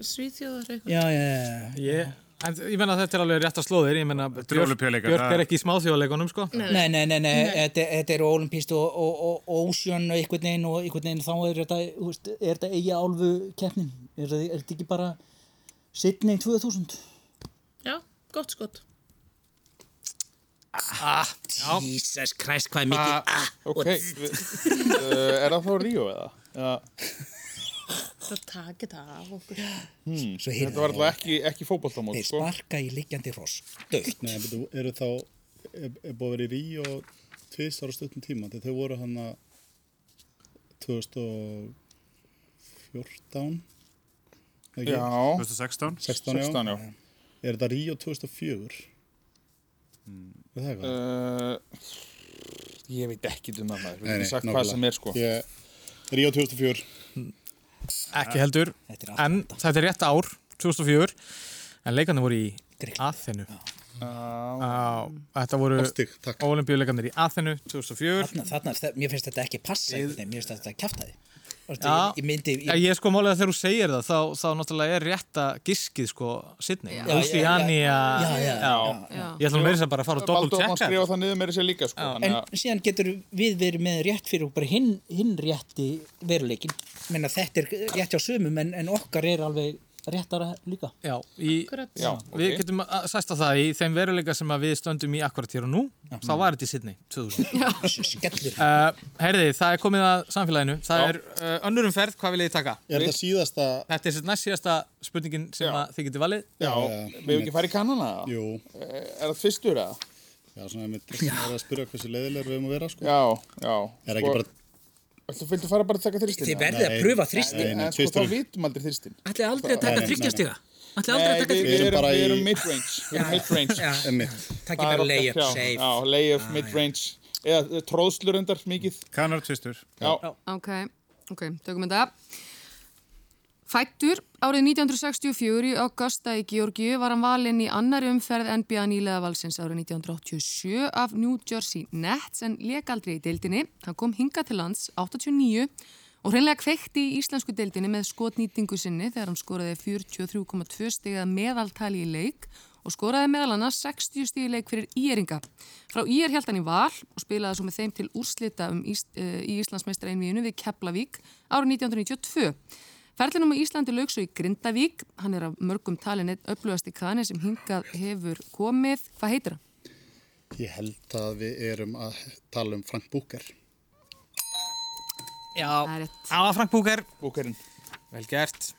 S5: svíþjóðar eitthvað.
S4: Já, já, já.
S1: Ég, en, ég menna þetta er alveg rétt að slóðir, ég menna Björk,
S3: Ólympíuleikar,
S1: Björk
S3: það-
S1: er ekki í smáþjóðleikunum, sko.
S4: Nei, nei, nei, nei, þetta, þetta er olimpíst og, og, og, og ocean og einhvern veginn og einhvern veginn þá er þetta, þú veist, er þetta eiga álfu keppnin? Er, þetta- er þetta ekki bara Sydney 2000?
S5: Já, gott skott.
S1: Ah,
S4: Jesus Christ, hvað er
S6: mikið ah, Ok, við, uh, er það þá Ríó eða? Ja,
S5: Það takir það af okkur.
S6: hmm,
S4: Svo heyrði
S6: þetta var alltaf ekki, ekki fótboltamót sko.
S4: Þeir sparka í liggjandi hross. Dögt.
S7: Nei, betur, eru þá er, er búið að vera í Ríó tvis ára stuttum tíma þegar þau voru hann að 2014 ekki?
S6: Já.
S3: 2016?
S6: 16,
S7: 16, já.
S6: já. Mm.
S7: Er þetta Ríó 2004? Er það eitthvað?
S6: Uh, Eh, Ég veit ekki um það maður, við
S7: Nei,
S6: getum
S7: nei,
S6: sagt
S7: nákvæmlega.
S6: hvað sem er sko
S7: Ég- Ríó 2004
S1: Ekki heldur, en þetta er rétt ár 2004, en leikarnir voru í Aþenu Á, Þetta voru
S7: Afstig,
S1: olimpíuleikarnir í Aþenu 2004
S4: Þarna, þarna, er þetta- mér finnst þetta ekki passa ég... mér finnst þetta kjaftaði
S1: Já,
S4: ég myndi
S1: ég, ég sko málega þegar þú segir það þá, þá náttúrulega er rétta giskið sko sittni,
S6: Já,
S1: Oceania
S4: já, já, já,
S1: ég ætla nú meira þess að bara að fara og doppelt
S6: Baldur má
S1: checka
S6: skrifa það niður meira sér líka sko
S4: en
S7: Hérna-
S4: síðan getur við verið með rétt fyrir okkur bara hinn, hinn rétti veruleikin menna þetta er rétt hjá sumum en, en okkar er alveg réttara líka
S1: já, í,
S4: Já,
S1: við
S4: ok.
S1: getum að- sæst á það í þeim veruleika sem að við stöndum í akkurat hér og nú þá var þetta í sittni 2000 uh, herði, það er komið að samfélaginu það
S7: Já.
S1: er uh, önnur umferð, hvað vil ég taka?
S7: Er þetta síðasta
S1: þetta er næst síðasta spurningin sem að þið getur valið
S6: Já, við hefum ekki farið í kannana Jú Er það tvistur eða?
S7: Já, svona einmitt þess að vera að spyrja hversu leiðilegur við erum að vera sko.
S6: Já, já Sko,
S7: Er ekki bara
S6: Þú viltu fara bara að taka þristin?
S7: Þið verðið að Nei. prufa þristinn.
S6: En, en sko,
S7: Þristur.
S6: þá vitum aldrei þristin
S21: Ætli aldrei
S7: að taka Nei, nei, þriggja nei. stiga?
S21: Ætli
S6: aldrei að taka
S7: Við
S6: þristin?
S7: erum bara
S6: Við
S7: í-
S6: erum mid-range Við erum
S7: Já.
S6: mid-range
S7: Já. Einmitt.
S6: Það
S7: bara
S6: er okkar
S7: layup,
S6: krá-
S7: safe.
S6: Já, layup, mid-range Eða tróðslur endar mikið
S3: Kanartvistur
S6: Já
S11: Ok, ok, tökum þetta. Fættur árið 1964 í Augusta í Georgiu var hann valinn í annari umferð NBA nýlega valsins árið 1987 af New Jersey Nets en leik aldrei í deildinni. Hann kom hinga til lands 89 og hreinlega kveikti í íslensku deildinni með skotnýtingu sinni þegar hann skoraði 43,2 stig að meðaltali í leik og skoraði meðal annars 60 stig í leik fyrir Íringa. Frá Ír held hann í val og spilaði svo með þeim til úrslita um Ís, uh, í Íslandsmeistra einvíinu við Keflavík árið 1992. Ferlinum á Íslandi lauk svo í Grindavík. Hann er af mörgum talin einn öflugasti kani sem hingað hefur komið. Hvað heitir hann?
S7: Ég held að við erum að tala um Frank Booker
S1: Já, það var Frank Booker
S6: Bookerinn
S1: Vel gert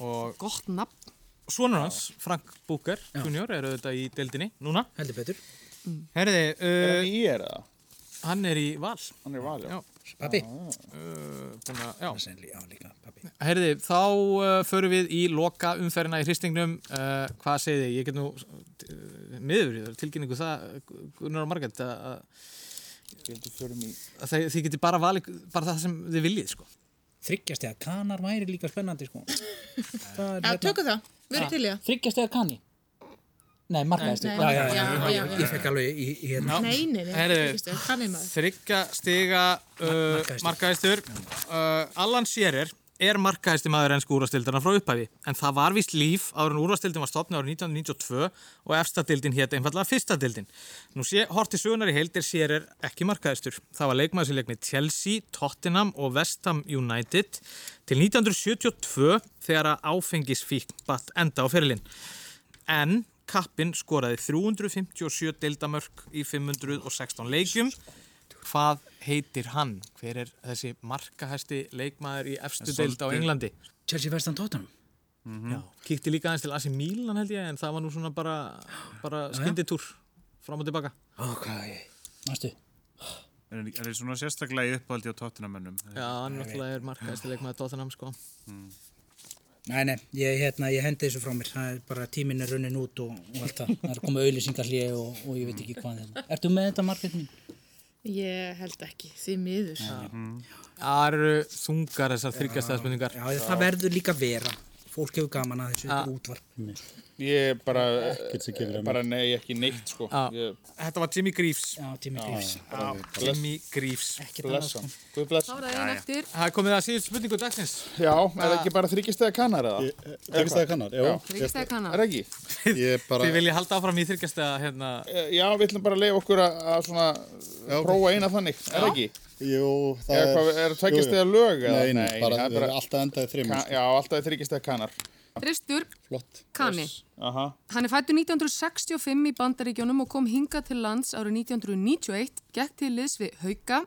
S1: og
S11: Gott nafn
S1: Svonur hans, Frank Booker junior, er auðvitað í deildinni núna
S4: Heldur betur
S1: Herði,
S6: Er
S1: uh,
S6: hann í er það?
S1: hann er í val eh,
S6: Hann er í val, já,
S4: Pabbi
S1: uh,
S4: Já, líka, pabbi
S1: Herði, þá uh, förum við í loka umferðina í hristingnum uh, Hvað segið þið? Ég get nú uh, miður í það, tilkynningu það uh, Gunnar og Margrét að að þið, þið getið bara valið bara það sem þið viljið sko.
S4: þryggjast eða kanar væri líka spennandi sko. það
S5: Já, tökum það. Við erum til í það.
S4: þryggjast eða kani nei, markaðist
S5: Nei, nei, já, já, já. Ég
S4: fekk alveg í, í hérna
S5: Nei, nei, nei,
S1: Herðu,
S5: ekki stöð, þannig maður.
S1: Þryggja stiga uh, markaðistur uh, Allan Scherer er markaðisti maður ennsku úrvastildana frá upphæfi en það var vist líf áður en úrvastildin var stopnið árið 1992 og efstadildin hétt einfallega fyrstadildin. Nú sé, horti sögunar í heild er Scherer ekki markaðistur. Það var leikmaður sem leik með Chelsea, Tottenham og West Ham United til 1972 þegar að áfengisfík batt enda á fyrirlinn en kappin skoraði 357 deildamörk í 516 leikjum hvað heitir hann? Hver er þessi markahæsti leikmaður í efstu
S4: En
S1: deild á
S4: svolítið-
S1: Englandi?
S4: Chelsea Vestan Tottenham
S1: Já, kíkti líka aðeins til Asi Mílan held ég en það var nú svona bara, bara skynditúr fram og tilbaka
S4: Ok, næstu
S3: Er er þið svona sérstaklega í uppaldi á tóttunamönnum?
S1: Já, hann náttúrulega er markahæsti leikmaður Tottenham sko
S4: Nei, nei, ég, hérna, ég hendi þessu frá mér það er bara tíminn er runnin út og, og allt það það er komið auðlýsingarlíði og, og ég veit ekki hvað þetta Ertu með þetta markið mín?
S5: Ég held ekki, því miður.
S1: Það eru þungar þessar þryggjastæðspendingar
S4: Já, það verður líka vera fólk hefur gaman að þessu þetta er útvarp
S6: Ég bara, eh,
S7: Ekkert sem kemur um að mér.
S6: bara nei, ekki neitt sko Ég-
S1: Þetta var Jimmy Greaves
S4: Já, Jimmy
S6: Greaves.
S1: Já, Jimmy Greaves
S7: um
S6: Bless hann Guð bless
S11: Þá er það einn eftir.
S1: Það er komið að síðust spurningu dagsins
S6: Já, er það ekki bara þryggjastega kanar eða?
S7: þryggjastæða kannar, já.
S11: Þryggjastæða kannar.
S6: Er það ekki?
S7: Ég bara
S1: Þið viljið halda áfram í þryggjastæða hérna
S6: Eh, Já, við ætlum bara að leiða okkur að að svona prófa eina þannig, er það ekki?
S7: Jú, það
S6: Eða hvað, er það tveggja
S7: jú, jú.
S6: stiga lög eða?
S7: Nei, nei,
S6: Nei,
S7: bara,
S6: það er bara-
S7: alltaf endaði þreymur
S6: Ka-
S7: sko.
S6: Já, alltaf þryggjast eða kanar
S11: Þristur
S7: Flott
S11: Kani.
S6: Aha.
S11: Hann er fættur 1965 í bandaríkjónum og kom hingað til lands árið 1991, gekk til liðs við Hauka.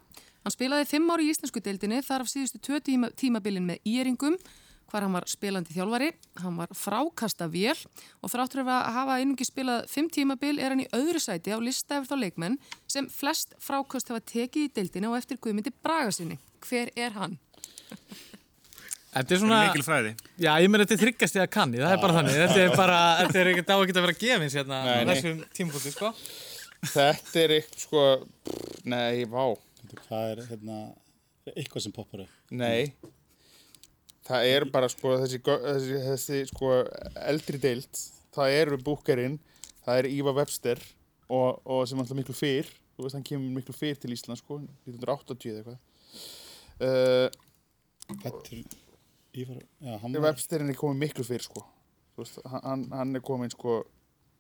S11: Hann spilaði fimm ári í íslensku deildinni þar af síðustu tvö tíma, tímabilin með Íringum, hvar hann var spilandi þjálfari. Hann var frákasta vél og þráttur að hafa einungi spilað fimm tímabil er hann í öðru sæti á lista yfir þá leikmenn sem flest frákast hafa tekið í deildinni og eftir Guðmundi Braga sinni. Hver er hann?
S1: Þetta er svona...
S3: Er mikil fræði.
S1: Já, ég meina þetta er þryggjast eða kanni, það er bara þannig. Þetta er bara, þetta er ekkert á ekkert að vera gefins hérna á
S6: Nei, nei.
S1: þessum tímpúti, sko.
S6: Þetta er eitt sko pff, Nei, vá
S7: það er hérna, eitthvað sem poppar upp.
S6: Nei Það er bara sko þessi, gö- þessi, þessi sko eldri deild það eru Búkerinn, það er Ívar Webster og, og sem alltaf miklu fyrr þú veist hann kemur miklu fyrr til Ísland sko 1980 eða Eh, eitthvað Þetta uh,
S7: Ívar, já, hann
S6: Var...
S7: var...
S6: Websterinn er komið miklu fyrr sko Þú veist, hann- hann, hann er komið sko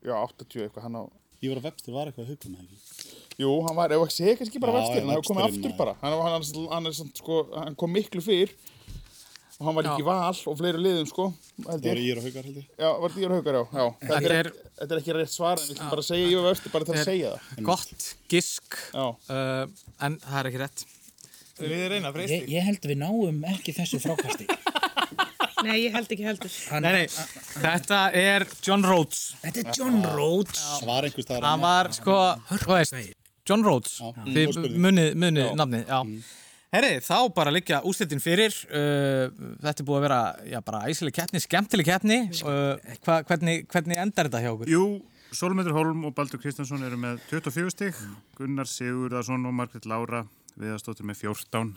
S6: já 80 eitthvað hann á
S7: Ívar Webster var eitthvað hugum ekki?
S6: Jú, hann var, ef ekki sé kannski bara
S7: Já,
S6: Websterinn,
S7: já,
S6: hann hefur komið
S7: Websterinn,
S6: aftur
S7: já.
S6: bara hann, hann, hann, hann, er samt, sko, hann kom miklu fyrr og hann var ekki í val og fleiri liðum sko held
S7: Það
S6: ég.
S7: voru Ívar og Haukar, held ég.
S6: Já, var þetta íra haukar, já, já. Þetta, er, þetta er ekki rétt svar en við ætlum bara að segja Ívar Öfti, bara til að
S1: Þetta er
S6: segja það
S1: Gott gisk uh, en það er ekki rétt Við reyna að
S4: ég, ég held við náum ekki þessu frákasti
S5: Nei, ég held ekki heldur.
S1: Nei, nei, þetta er John Rhodes
S4: Þetta er John Rhodes
S7: Svar einhvers þar
S1: Hann var sko, þú veist, John Rhodes Þið
S7: stórspurning.
S1: munið, munið nafnið, já Mm. Herri, þá bara liggja úslitin fyrir uh, Þetta er búið að vera, já, bara æsileg keppni, skemmtileg keppni uh, hva, hvernig, hvernig endar þetta hjá okkur?
S3: Jú, Solmyndur Holm og Baldur Kristjánsson eru með 24 stig, Gunnar Sigurðarsson og Margrét Lára viðastóttir með 14.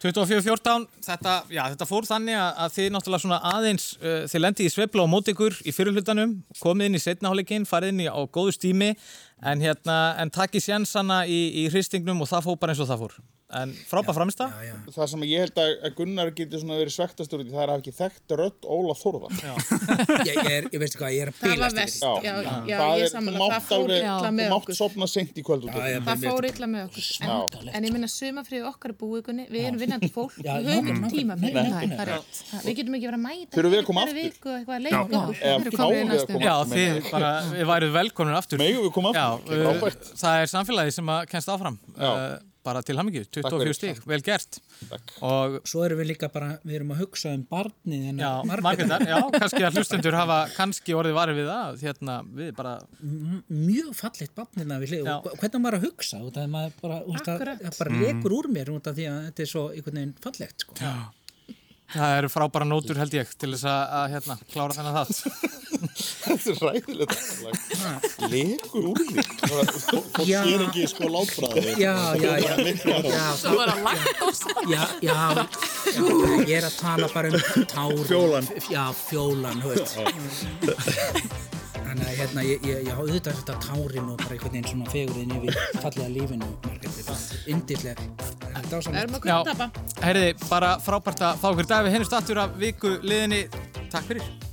S1: 24-14, þetta, já, þetta fór þannig að, að þið náttúrulega svona aðeins, uh, þið lendið í sveifla á mót ykkur í fyrirlutanum, komið inn í setnaháleikinn, farið inn í, á góðu stími, en hérna, en takkið sjansana í, í hristingnum og það fór bara eins og það fór. En frábæð framist það? Já, já.
S6: Það sem ég held að að Gunnar getur svona verið svektast úr því það er að hafa ekki þekkt rödd Óla Þórða
S4: Ég, ég, er, ég veistu hvað, ég er að
S5: Það var
S4: bílast
S5: verst, já, já, já,
S6: Það
S5: ég
S6: er,
S5: sammála,
S6: þú mátt
S5: það fór
S6: alveg-
S5: illa
S6: þú
S5: með
S6: mátt
S5: okkur.
S6: sopna seint í kvöld út af því.
S5: Það fór illa með okkur. En, en ég minna sumafrið okkar er búið ykkurni, við erum vinnandi fólk,
S6: Já,
S5: við höfum
S6: nákvæmlega.
S5: tíma fyrir
S6: Nei,
S5: það,
S6: nei,
S5: það er
S6: nei.
S5: rétt. Það- Við getum ekki verið að mæta.
S6: Þurfum við að koma
S5: hverri
S6: aftur?
S5: viku og eitthvað að
S6: Já.
S5: leika okkur.
S6: Eða
S5: Við erum
S6: fáum
S5: komin
S6: við
S5: í
S6: að
S5: næstu
S6: koma
S5: viku.
S1: Já,
S6: aftur,
S1: þið
S6: meina ég.
S1: bara, við værið velkomin aftur
S6: Megum við koma
S1: aftur? Já, uh, það er samfélagið sem að kennst áfram uh, bara til hamingju,
S4: Takk fyrir.
S1: 24 stík, vel gert Takk. og
S4: Svo erum við líka bara, við erum að hugsa um barnið en
S1: Já, Margrétar, já, kannski að hlustendur hafa kannski orðið varið við það, hérna, við bara,
S4: M- mjög fallegt barnina við hlið og hvernig á maður að hugsa út af því maður bara, út af, það bara
S7: Mm.
S1: Mhm.
S4: rekur úr mér út af því að þetta er svo einhvern veginn fallegt sko.
S1: það eru frábæra nótur held ég til þess að, að hérna, klára þennan þátt.
S6: Þetta er ræðilegt Lekur úr því
S7: Fólk
S4: Já.
S7: sér ekki sko látbræði.
S4: Já, já, já. Já. Það var að já, já, já, ég er að tala bara um tár
S7: Fjólan.
S4: já, fjólan, þú veist þannig að hérna ég, ég, ég auðvitað er þetta tárin og bara einhvern veginn svona fegurinn yfir fallega lífinu Margrét, þetta er yndislega þetta er dásamlegt.
S1: Já, Herði, bara frábært að fá ykkur dag, við hennumst aftur af viku liðinni, takk fyrir.